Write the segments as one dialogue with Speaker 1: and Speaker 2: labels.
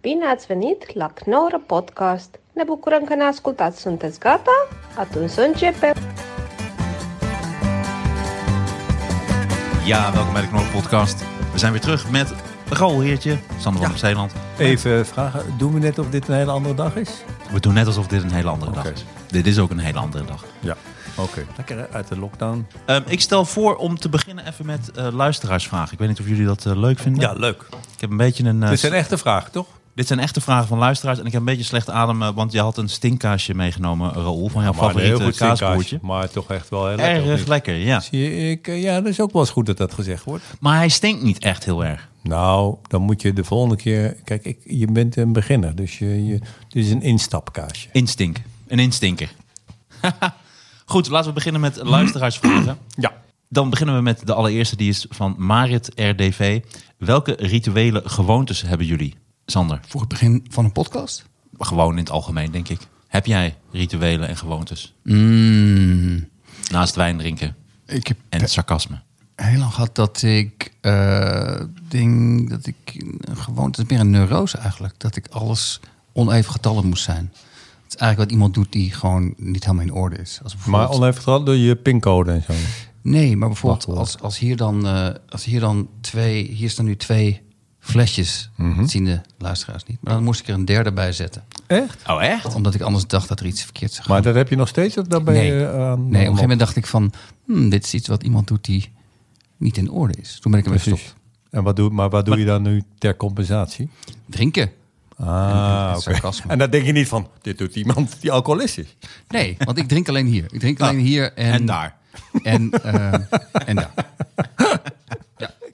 Speaker 1: Bine ați venit la Knorr Podcast! Ne bucurăm că ne ascultați! Sunteți gata? Atunci să începem!
Speaker 2: Ja, welkom bij de Knol Podcast. We zijn weer terug met een galheertje, Sander van Zeeland.
Speaker 3: Even vragen, doen we net of dit een hele andere dag is?
Speaker 2: We doen net alsof dit een hele andere dag
Speaker 3: Oké.
Speaker 2: is. Dit is ook een hele andere dag.
Speaker 3: Ja. Oké. Lekker hè, uit de lockdown.
Speaker 2: Ehm, ik stel voor om te beginnen even met eh, luisteraarsvragen. Ik weet niet of jullie dat eh, leuk vinden.
Speaker 3: Ja, leuk.
Speaker 2: Ik heb een beetje een... eh,
Speaker 3: Dit is een echte vraag, toch?
Speaker 2: dit zijn echte vragen van luisteraars. En ik heb een beetje slecht ademen, want je had een stinkkaasje meegenomen, Raoul. Van jouw favoriete kaasbroertje.
Speaker 3: Maar toch echt wel heel lekker. of
Speaker 2: Erg
Speaker 3: niet?
Speaker 2: lekker, ja.
Speaker 3: Zie je, ik, eh, ja, dat is ook wel eens goed dat dat gezegd wordt.
Speaker 2: Maar hij stinkt niet echt heel erg.
Speaker 3: Nou, dan moet je de volgende keer... Kijk, ik, je bent een beginner, dus je, je, dit is een instapkaasje.
Speaker 2: Instink. Een instinker. Goed, laten we beginnen met luisteraarsvragen.
Speaker 3: Ja.
Speaker 2: Dan beginnen we met de allereerste, die is van Marit RDV. Welke rituele gewoontes hebben jullie, Sander?
Speaker 4: Voor het begin van een podcast?
Speaker 2: Gewoon in het algemeen, denk ik. Heb jij rituelen en gewoontes?
Speaker 4: Mm,
Speaker 2: Naast wijn drinken
Speaker 4: ik heb
Speaker 2: en het sarcasme.
Speaker 4: heel lang gehad dat ik eh ding dat ik een gewoonte, het is meer een neurose eigenlijk, dat ik alles oneven getallen moest zijn. Het is eigenlijk wat iemand doet die gewoon niet helemaal in orde is. Als
Speaker 3: Maar
Speaker 4: bijvoorbeeld-
Speaker 3: oneven getrapt door je pincode en zo.
Speaker 4: nee, maar bijvoorbeeld
Speaker 3: Wachtwoord.
Speaker 4: als, als hier dan eh, als hier dan twee, hier staan nu twee flesjes, dat zien de luisteraars niet. Maar dan moest ik er een derde bij zetten,
Speaker 3: Echt?
Speaker 2: Oh, echt?
Speaker 4: omdat ik anders dacht dat er iets verkeerd zou gaan.
Speaker 3: Maar dat heb je nog steeds of dan ben
Speaker 4: Nee,
Speaker 3: je eh,
Speaker 4: nee op
Speaker 3: aan...
Speaker 4: een gegeven moment dacht ik van, hmm, dit is iets wat iemand doet die niet in orde is. Toen ben ik ermee
Speaker 3: Precies.
Speaker 4: gestopt.
Speaker 3: En wat doe, maar wat doe je dan nu ter compensatie?
Speaker 4: Drinken.
Speaker 3: Ah,
Speaker 4: Het
Speaker 3: oké.
Speaker 4: sarcasme.
Speaker 3: En dan denk je niet van, dit doet iemand die alcoholist is.
Speaker 4: Nee, want ik drink alleen hier. Ik drink
Speaker 3: Ah,
Speaker 4: alleen hier en,
Speaker 2: En daar.
Speaker 4: En, eh, en daar.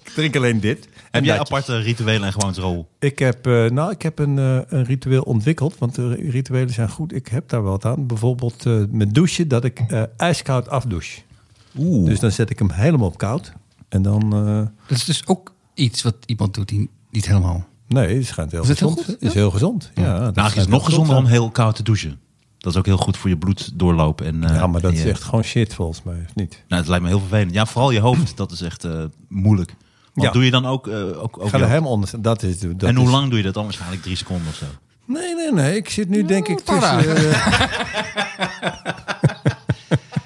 Speaker 3: Ik drink alleen dit.
Speaker 2: Heb jij
Speaker 3: jij
Speaker 2: aparte rituelen en gewoontes, Rol?
Speaker 3: Ik heb, eh, nou, ik heb een, eh, een ritueel ontwikkeld, want de rituelen zijn goed. Ik heb daar wel wat aan. Bijvoorbeeld eh, met douchen, dat ik eh, ijskoud afdouche.
Speaker 2: Oeh.
Speaker 3: Dus dan zet ik hem helemaal op koud. En dan, eh,
Speaker 4: Dat is dus ook iets wat iemand doet die niet helemaal...
Speaker 3: nee, het schijnt heel
Speaker 4: Is het heel
Speaker 3: gezond.
Speaker 4: goed?
Speaker 3: Is heel gezond, ja. dat
Speaker 2: nou, het is
Speaker 3: schijnt
Speaker 2: nog
Speaker 3: heel
Speaker 2: gezonder om
Speaker 3: gezond
Speaker 2: heel koud te douchen. Dat is ook heel goed voor je bloeddoorloop. En,
Speaker 3: te
Speaker 2: eh,
Speaker 3: zijn. Ja, maar dat
Speaker 2: en
Speaker 3: is
Speaker 2: je-
Speaker 3: echt gewoon shit volgens mij, of niet?
Speaker 2: Nou, het lijkt me heel vervelend. Ja, vooral je hoofd, dat is echt eh, moeilijk. Want
Speaker 3: Ja.
Speaker 2: doe je dan ook... eh, ook, ook
Speaker 3: Ik ga
Speaker 2: je-
Speaker 3: er helemaal onder. Dat is, dat
Speaker 2: en hoe
Speaker 3: is-
Speaker 2: lang doe je dat dan? Waarschijnlijk drie seconden of zo.
Speaker 3: Nee, nee, nee. Ik zit nu denk ik
Speaker 4: een paar
Speaker 3: tussen... eh,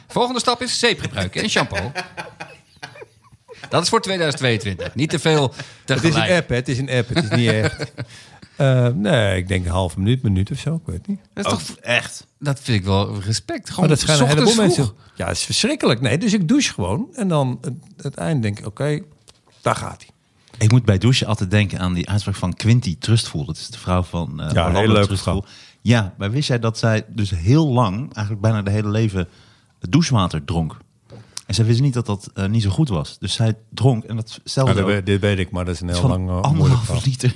Speaker 4: Volgende stap is zeep gebruiken en shampoo. Dat is voor 2022. Niet te veel
Speaker 3: het is
Speaker 4: tegelijk.
Speaker 3: een app, hè. Het is een app. Het is niet echt. Eh, nee, ik denk een halve minuut, minuut of zo. Ik weet het niet.
Speaker 4: Dat, is
Speaker 2: Oh,
Speaker 4: toch-
Speaker 2: echt?
Speaker 4: dat vind ik wel respect. Gewoon
Speaker 3: Maar dat schijnen een
Speaker 4: ochtends
Speaker 3: heleboel
Speaker 4: vroeg.
Speaker 3: mensen. Ja, het is verschrikkelijk. Nee, dus ik douche gewoon. En dan het, het eind denk ik, oké, daar gaat hij.
Speaker 2: Ik moet bij douchen altijd denken aan die uitspraak van Quinty Trustful. Dat is de vrouw van eh
Speaker 3: een
Speaker 2: Orlando
Speaker 3: hele leuke
Speaker 2: Trustful.
Speaker 3: vrouw.
Speaker 2: Ja, maar wist jij dat zij dus heel lang, eigenlijk bijna de hele leven, douchewater dronk? En zij wist niet dat dat eh, niet zo goed was. Dus zij dronk en dat stelde ook. Het
Speaker 3: dit Nou, weet ik, maar dat is een
Speaker 2: is
Speaker 3: heel
Speaker 2: van
Speaker 3: lang eh, moeilijk verhaal.
Speaker 2: anderhalf liter.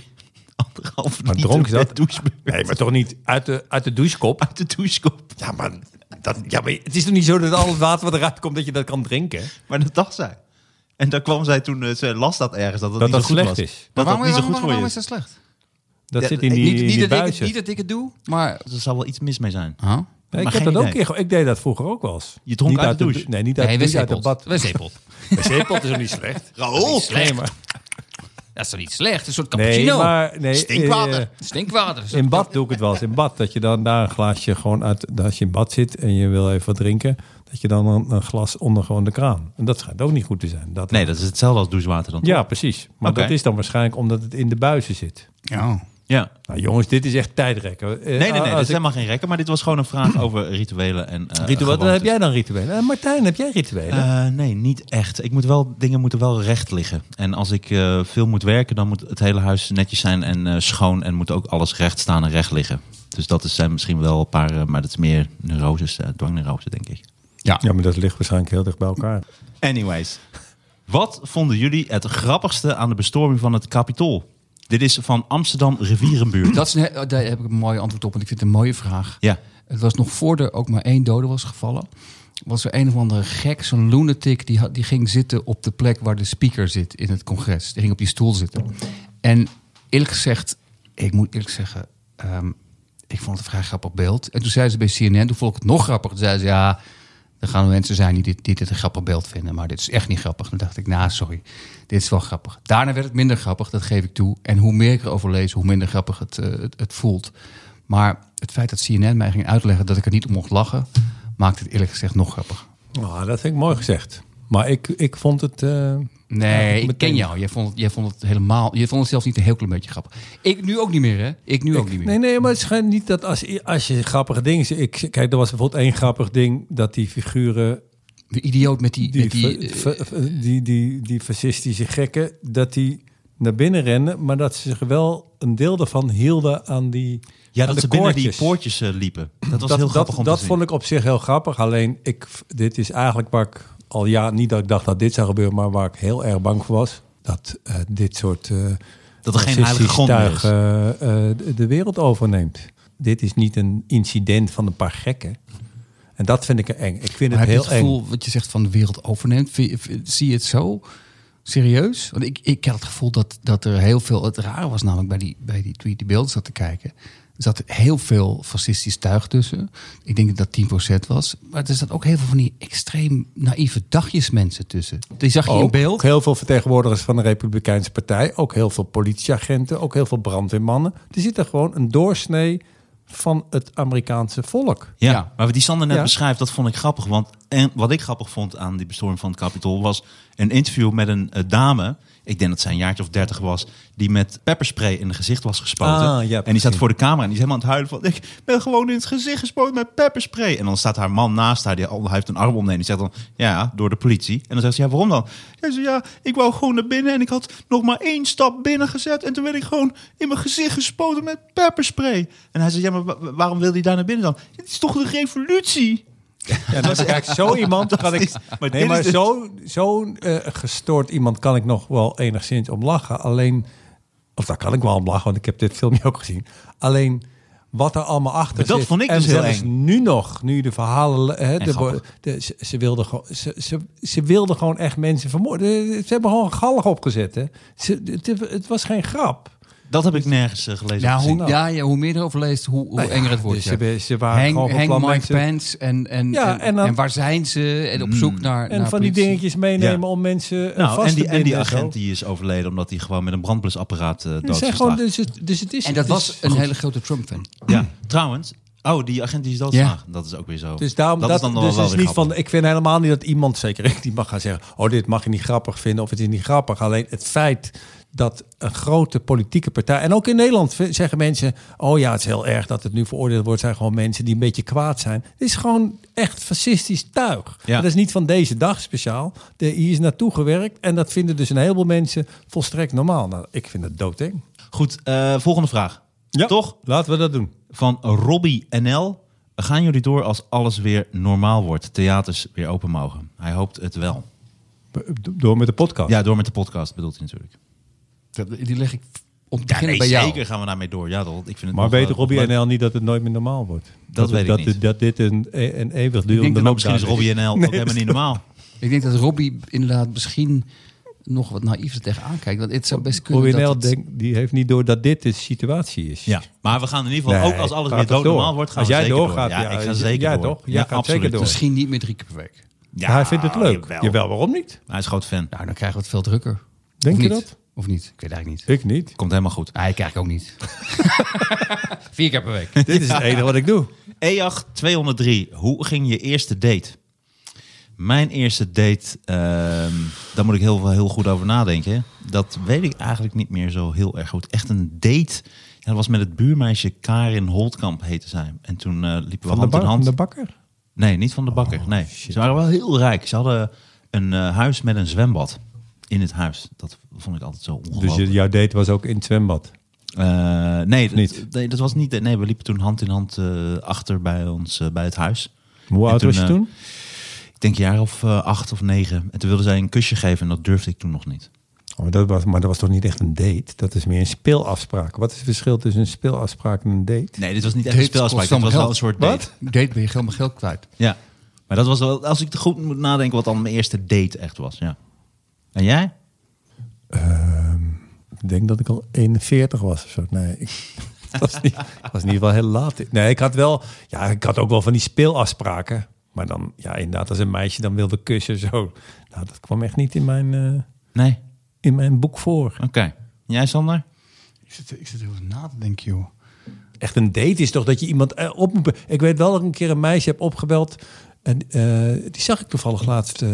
Speaker 2: Anderhalf
Speaker 3: Maar
Speaker 2: liter
Speaker 3: dronk je
Speaker 2: per
Speaker 3: dat?
Speaker 2: douchebeurt
Speaker 3: Nee, maar toch niet uit de, uit de douchekop.
Speaker 2: uit de douchekop.
Speaker 3: Ja, maar, dat, ja, maar het is toch niet zo dat al het water wat eruit komt, dat je dat kan drinken?
Speaker 2: Maar dat dacht zij. En daar kwam zij toen, eh, ze las dat ergens, dat dat,
Speaker 3: Dat
Speaker 2: niet
Speaker 3: dat
Speaker 2: zo goed
Speaker 3: slecht
Speaker 2: was.
Speaker 3: is.
Speaker 2: Dat dat niet zo goed
Speaker 4: waarom-
Speaker 2: voor je
Speaker 4: waarom
Speaker 2: is.
Speaker 4: is dat slecht?
Speaker 3: Dat
Speaker 2: Ja,
Speaker 3: zit in
Speaker 2: ik-
Speaker 3: die,
Speaker 4: niet, niet
Speaker 3: die
Speaker 4: dat ik, het-
Speaker 3: buizen.
Speaker 4: niet dat ik het doe, maar...
Speaker 2: Er zal wel iets mis mee zijn.
Speaker 4: Huh?
Speaker 3: Nee, ik
Speaker 2: maar
Speaker 3: heb
Speaker 2: geen
Speaker 3: dat ook
Speaker 2: idee.
Speaker 3: een keer ge- Ik deed dat vroeger ook wel eens.
Speaker 2: Je dronk
Speaker 3: niet
Speaker 2: uit de douche?
Speaker 3: bu- Nee, niet uit,
Speaker 4: Nee,
Speaker 3: de
Speaker 4: we
Speaker 3: douche, uit het
Speaker 4: zeepelt.
Speaker 3: bad.
Speaker 4: We zeepelt.
Speaker 3: Zeepot is ook niet slecht.
Speaker 2: Raoul!
Speaker 3: Nee, maar,
Speaker 4: Dat is toch niet slecht? Een soort
Speaker 3: nee,
Speaker 4: cappuccino. Ah,
Speaker 3: maar nee,
Speaker 2: Stinkwater.
Speaker 3: eh,
Speaker 4: Stinkwater. Zo-
Speaker 3: In bad doe ik het wel eens. In bad, dat je dan daar een glaasje gewoon uit... dat Als je in bad zit en je wil even wat drinken... dat je dan een, een glas onder gewoon de kraan. En dat schijnt ook niet goed te zijn. Dat,
Speaker 2: Nee, dat is hetzelfde als douchewater dan. toch?
Speaker 3: Ja, precies. Maar
Speaker 2: Oké.
Speaker 3: dat is dan waarschijnlijk omdat het in de buizen zit.
Speaker 4: Ja.
Speaker 2: ja.
Speaker 3: Nou jongens, dit is echt tijdrekken. Eh,
Speaker 2: Nee, nee, nee. Dit
Speaker 3: als
Speaker 2: is
Speaker 3: ik- Hm.
Speaker 2: helemaal geen rekken. Maar dit was gewoon een vraag over rituelen en eh,
Speaker 3: Rituelen, dan
Speaker 2: gewoontes.
Speaker 3: heb jij dan rituelen. Eh, Martijn, heb jij rituelen?
Speaker 2: Eh, nee, niet echt. Ik moet wel, dingen moeten wel recht liggen. En als ik eh, veel moet werken, dan moet het hele huis netjes zijn en eh, schoon. En moet ook alles recht staan en recht liggen. Dus dat is, zijn misschien wel een paar, eh, maar dat is meer neuroses, eh dwangneuroses, denk ik.
Speaker 3: ja, maar dat ligt waarschijnlijk heel dicht bij elkaar.
Speaker 2: Anyways. Wat vonden jullie het grappigste aan de bestorming van het Capitool? Dit is van Amsterdam Rivierenbuurt.
Speaker 4: Dat is een, he- oh, daar heb ik een mooi antwoord op, want ik vind het een mooie vraag.
Speaker 2: Ja.
Speaker 4: Het was nog voor er ook maar één dode was gevallen. Was er een of andere gek, zo'n lunatic, die, had, die ging zitten op de plek waar de speaker zit in het congres. Die ging op die stoel zitten. En eerlijk gezegd, ik moet eerlijk zeggen, ehm, ik vond het een vrij grappig beeld. En toen zei ze bij CNN, toen vond ik het nog grappig. Toen zei ze, ja, Er gaan mensen zijn die dit, die dit een grappig beeld vinden, maar dit is echt niet grappig. Dan dacht ik, nou sorry, dit is wel grappig. Daarna werd het minder grappig, dat geef ik toe. En hoe meer ik erover lees, hoe minder grappig het, eh, het, het voelt. Maar het feit dat CNN mij ging uitleggen dat ik er niet om mocht lachen, maakt het eerlijk gezegd nog grappiger.
Speaker 3: Nou, dat vind ik mooi gezegd. Maar ik, ik vond het... eh,
Speaker 4: Nee,
Speaker 3: meteen-
Speaker 4: ik ken jou. Jij vond, het, jij vond het helemaal. Je vond het zelfs niet een heel klein beetje grappig. Ik nu ook niet meer, hè? Ik nu ook niet meer.
Speaker 3: Nee, nee, maar het schijnt niet dat als, als je grappige dingen... ziet- Ik, kijk, er was bijvoorbeeld één grappig ding dat die figuren...
Speaker 4: De idioot met die.
Speaker 3: Die,
Speaker 4: met die eh,
Speaker 3: fa- fa- die, die, die fascistische gekken, dat die naar binnen rennen... maar dat ze zich wel een deel daarvan hielden aan die
Speaker 2: Ja,
Speaker 3: aan
Speaker 2: dat
Speaker 3: de
Speaker 2: ze binnen die
Speaker 3: koordjes.
Speaker 2: poortjes eh, liepen. Dat was
Speaker 3: dat,
Speaker 2: heel grappig
Speaker 3: dat,
Speaker 2: om
Speaker 3: dat
Speaker 2: te zien.
Speaker 3: vond ik op zich heel grappig. Alleen, ik, dit is eigenlijk waar ik al ja, niet dat ik dacht dat dit zou gebeuren, maar waar ik heel erg bang voor was. Dat eh, dit soort. eh
Speaker 2: Dat er geen
Speaker 3: racistisch
Speaker 2: heilige grond meer is.
Speaker 3: tuig, eh, eh, de- de wereld overneemt. Dit is niet een incident van een paar gekken. En dat vind ik eng. Ik vind
Speaker 4: maar
Speaker 3: het
Speaker 4: heb je
Speaker 3: heel
Speaker 4: het gevoel
Speaker 3: eng.
Speaker 4: wat je zegt van de wereld overneemt? Vind je- vind- Zie je het zo serieus? Want ik, ik had het gevoel dat, dat er heel veel. Het raar was namelijk bij die, bij die, toen je die beelden zat te kijken. Er zat heel veel fascistisch tuig tussen. Ik denk dat dat 10% was. Maar er zat ook heel veel van die extreem naïeve dagjes mensen tussen. Die zag je in
Speaker 3: Ook
Speaker 4: beeld.
Speaker 3: heel veel vertegenwoordigers van de Republikeinse Partij. Ook heel veel politieagenten. Ook heel veel brandweermannen. Er zit er gewoon een doorsnee van het Amerikaanse volk.
Speaker 2: Ja,
Speaker 4: Ja.
Speaker 2: maar wat die Sander net
Speaker 3: Ja.
Speaker 2: beschrijft, dat vond ik grappig. Want en wat ik grappig vond aan die bestorming van het Capitool was een interview met een eh, dame. Ik denk dat zij een jaartje of dertig was, die met pepperspray in het gezicht was gespoten.
Speaker 3: Ah, ja,
Speaker 2: en die
Speaker 3: precies.
Speaker 2: staat voor de camera en die is helemaal aan het huilen van... ik ben gewoon in het gezicht gespoten met pepperspray. En dan staat haar man naast haar, die, al- hij heeft een arm omnemen. Die zegt dan, ja, door de politie. En dan zegt ze, ja, waarom dan? Hij zegt, ja, ik wou gewoon naar binnen en ik had nog maar één stap binnen gezet... en toen werd ik gewoon in mijn gezicht gespoten met pepperspray. En hij zegt, ja, maar wa- wa- waarom wil hij daar naar binnen dan? Dit is toch de revolutie?
Speaker 3: Ja, nou, kijk, zo iemand kan ik.
Speaker 2: Maar
Speaker 3: nee,
Speaker 2: dit
Speaker 3: maar
Speaker 2: is dus-
Speaker 3: zo, zo eh, gestoord iemand kan ik nog wel enigszins om lachen. Alleen, of daar kan ik wel om lachen, want ik heb dit filmpje ook gezien. Alleen wat er allemaal achter
Speaker 2: Maar dat
Speaker 3: zit.
Speaker 2: vond ik
Speaker 3: en
Speaker 2: dus heel
Speaker 3: zelfs
Speaker 2: eng.
Speaker 3: nu nog, nu de verhalen. Hè, de,
Speaker 2: grappig.
Speaker 3: de- ze, ze wilden gewoon, ze, ze, ze wilden gewoon echt mensen vermoorden. Eh, Ze hebben gewoon gallig opgezet. Hè. Ze, het, het was geen grap.
Speaker 2: Dat heb ik nergens eh, gelezen.
Speaker 4: Ja,
Speaker 2: of gezien.
Speaker 4: hoe,
Speaker 3: nou?
Speaker 4: ja, ja, hoe meer je erover leest, hoe, hoe enger het wordt.
Speaker 3: dus
Speaker 4: ja.
Speaker 3: ze- ze waren
Speaker 4: Hang-
Speaker 3: gewoon van
Speaker 4: hang
Speaker 3: plan
Speaker 4: Mike
Speaker 3: mensen-
Speaker 4: Pence en, en,
Speaker 3: Ja,
Speaker 4: en,
Speaker 3: en dan-
Speaker 4: en waar zijn ze? En op zoek naar
Speaker 3: En
Speaker 4: naar
Speaker 3: van die
Speaker 4: politie.
Speaker 3: dingetjes meenemen
Speaker 2: Nou, Ja.
Speaker 3: om mensen eh,
Speaker 2: Nou,
Speaker 3: vast
Speaker 2: en, die,
Speaker 3: te
Speaker 2: en die
Speaker 3: binden. zo.
Speaker 2: agent die is overleden omdat hij gewoon met een brandblusapparaat eh
Speaker 3: Ze
Speaker 2: dood
Speaker 3: zijn
Speaker 2: is
Speaker 3: gewoon,
Speaker 2: geslagen.
Speaker 3: dus, het- dus het is
Speaker 4: En dat
Speaker 3: het is-
Speaker 4: was een hele grote Trump-fan.
Speaker 2: Ja, trouwens. Oh, die agent die is doodgeslagen. Dat is ook weer zo.
Speaker 3: Dus daarom, dat,
Speaker 2: is dan nog
Speaker 3: dus
Speaker 2: wel
Speaker 3: is
Speaker 2: weer
Speaker 3: niet van,
Speaker 2: grappig.
Speaker 3: ik vind helemaal niet dat iemand, zeker ik, die mag gaan zeggen, oh, dit mag je niet grappig vinden of het is niet grappig. Alleen het feit dat een grote politieke partij, en ook in Nederland v- zeggen mensen, oh ja, het is heel erg dat het nu veroordeeld wordt, zijn gewoon mensen die een beetje kwaad zijn. Het is gewoon echt fascistisch tuig.
Speaker 2: Ja.
Speaker 3: Dat is niet van deze dag speciaal. De, hier is naartoe gewerkt en dat vinden dus een heleboel mensen volstrekt normaal. Nou, ik vind het doodeng.
Speaker 2: Goed, eh, volgende vraag. Toch?
Speaker 3: Laten we dat doen.
Speaker 2: Van Robbie NL. Gaan jullie door als alles weer normaal wordt? Theaters weer open mogen? Hij hoopt het wel.
Speaker 3: Door met de podcast.
Speaker 2: Ja, door met de podcast bedoelt hij natuurlijk.
Speaker 4: Dat- Die leg ik om te
Speaker 2: Ja,
Speaker 4: beginnen
Speaker 2: nee,
Speaker 4: bij jou.
Speaker 2: zeker gaan we daarmee door. Ja, dat, ik vind het
Speaker 3: Maar
Speaker 2: nog,
Speaker 3: weet
Speaker 2: eh,
Speaker 3: Robbie
Speaker 2: leuk.
Speaker 3: NL niet dat het nooit meer normaal wordt? Dat,
Speaker 2: weet ik
Speaker 3: dat,
Speaker 2: niet.
Speaker 3: Dat dit een, e- een
Speaker 2: Ik denk
Speaker 3: eeuwigdurende
Speaker 2: dat ook Nou, misschien is
Speaker 3: lockdown
Speaker 2: Robbie NL ook helemaal niet normaal.
Speaker 4: Ik denk dat Robbie inderdaad misschien nog wat naïef er tegenaan kijkt. Want het zou best kunnen
Speaker 3: Robbie
Speaker 4: dat
Speaker 3: NL
Speaker 4: het-
Speaker 3: denkt, die heeft niet door dat dit de situatie is.
Speaker 2: Ja, maar we gaan in ieder geval
Speaker 3: Nee,
Speaker 2: ook als alles
Speaker 3: gaat
Speaker 2: weer
Speaker 3: toch
Speaker 2: doodnormaal
Speaker 3: door?
Speaker 2: wordt, gaan
Speaker 3: Als
Speaker 2: we
Speaker 3: jij
Speaker 2: zeker
Speaker 3: doorgaat,
Speaker 2: door. Ja,
Speaker 3: ja,
Speaker 2: ik ga
Speaker 3: ja,
Speaker 2: zeker
Speaker 3: ja,
Speaker 2: door.
Speaker 3: toch? Jij gaat zeker door.
Speaker 4: misschien niet meer drie keer per week.
Speaker 2: Ja,
Speaker 3: Maar hij vindt het leuk.
Speaker 2: jawel.
Speaker 3: Jawel, waarom niet?
Speaker 2: Hij is groot fan.
Speaker 4: Nou, dan krijgen we het veel drukker.
Speaker 3: Denk
Speaker 4: Of
Speaker 3: je
Speaker 4: niet?
Speaker 3: dat?
Speaker 4: Of niet? Ik weet eigenlijk niet.
Speaker 3: Ik niet.
Speaker 2: Komt helemaal goed.
Speaker 4: Ah, ik krijg ook niet. Vier keer per week.
Speaker 3: Dit is het enige wat ik doe.
Speaker 2: EAG 203, hoe ging je eerste date? Mijn eerste date, ehm, daar moet ik heel, heel goed over nadenken. Dat weet ik eigenlijk niet meer zo heel erg goed. Echt een date. Ja, dat was met het buurmeisje Karin Holtkamp heette zij. En toen eh, liepen we
Speaker 3: Van de,
Speaker 2: hand
Speaker 3: bak,
Speaker 2: in hand.
Speaker 3: van de Oh, bakker.
Speaker 2: Nee, niet van de bakker. nee. Ze waren wel heel rijk. Ze hadden een eh, huis met een zwembad in het huis. Dat vond ik altijd zo ongelooflijk.
Speaker 3: Dus je- jouw date was ook in het zwembad.
Speaker 2: Eh, nee, dat,
Speaker 3: niet?
Speaker 2: nee, dat was niet. Nee, we liepen toen hand in hand eh, achter bij ons eh, bij het huis.
Speaker 3: Hoe
Speaker 2: En
Speaker 3: oud was je
Speaker 2: eh,
Speaker 3: toen?
Speaker 2: ik denk een jaar of eh, acht of negen. En toen wilde zij een kusje geven en dat durfde ik toen nog niet.
Speaker 3: Oh, dat was, maar dat was toch niet echt een date? Dat is meer een speelafspraak. Wat is het verschil tussen een speelafspraak en een date?
Speaker 2: Nee, dit was niet echt een
Speaker 4: Dates kost
Speaker 2: speelspraak. Dit was
Speaker 4: allemaal
Speaker 2: wel een soort date.
Speaker 4: Wat? Date ben je helemaal geld kwijt.
Speaker 2: Ja. Maar dat was wel, als ik er goed moet nadenken, wat dan mijn eerste date echt was. Ja. En jij?
Speaker 3: Ehm, ik denk dat ik al 41 was of zo. Nee, ik dat was, niet, dat was in ieder geval heel laat. Nee, ik had wel, ja, ik had ook wel van die speelafspraken. Maar dan, ja, inderdaad, als een meisje dan wilde kussen, zo. Nou, dat kwam echt niet in mijn, eh,
Speaker 2: Nee?
Speaker 3: in mijn boek voor.
Speaker 2: Oké. Jij, Sander?
Speaker 4: Ik zit, ik zit heel na te denken, joh.
Speaker 3: Echt een date is toch dat je iemand eh, op moet... be- Ik weet wel dat ik een keer een meisje heb opgebeld. En eh, die zag ik toevallig laatst eh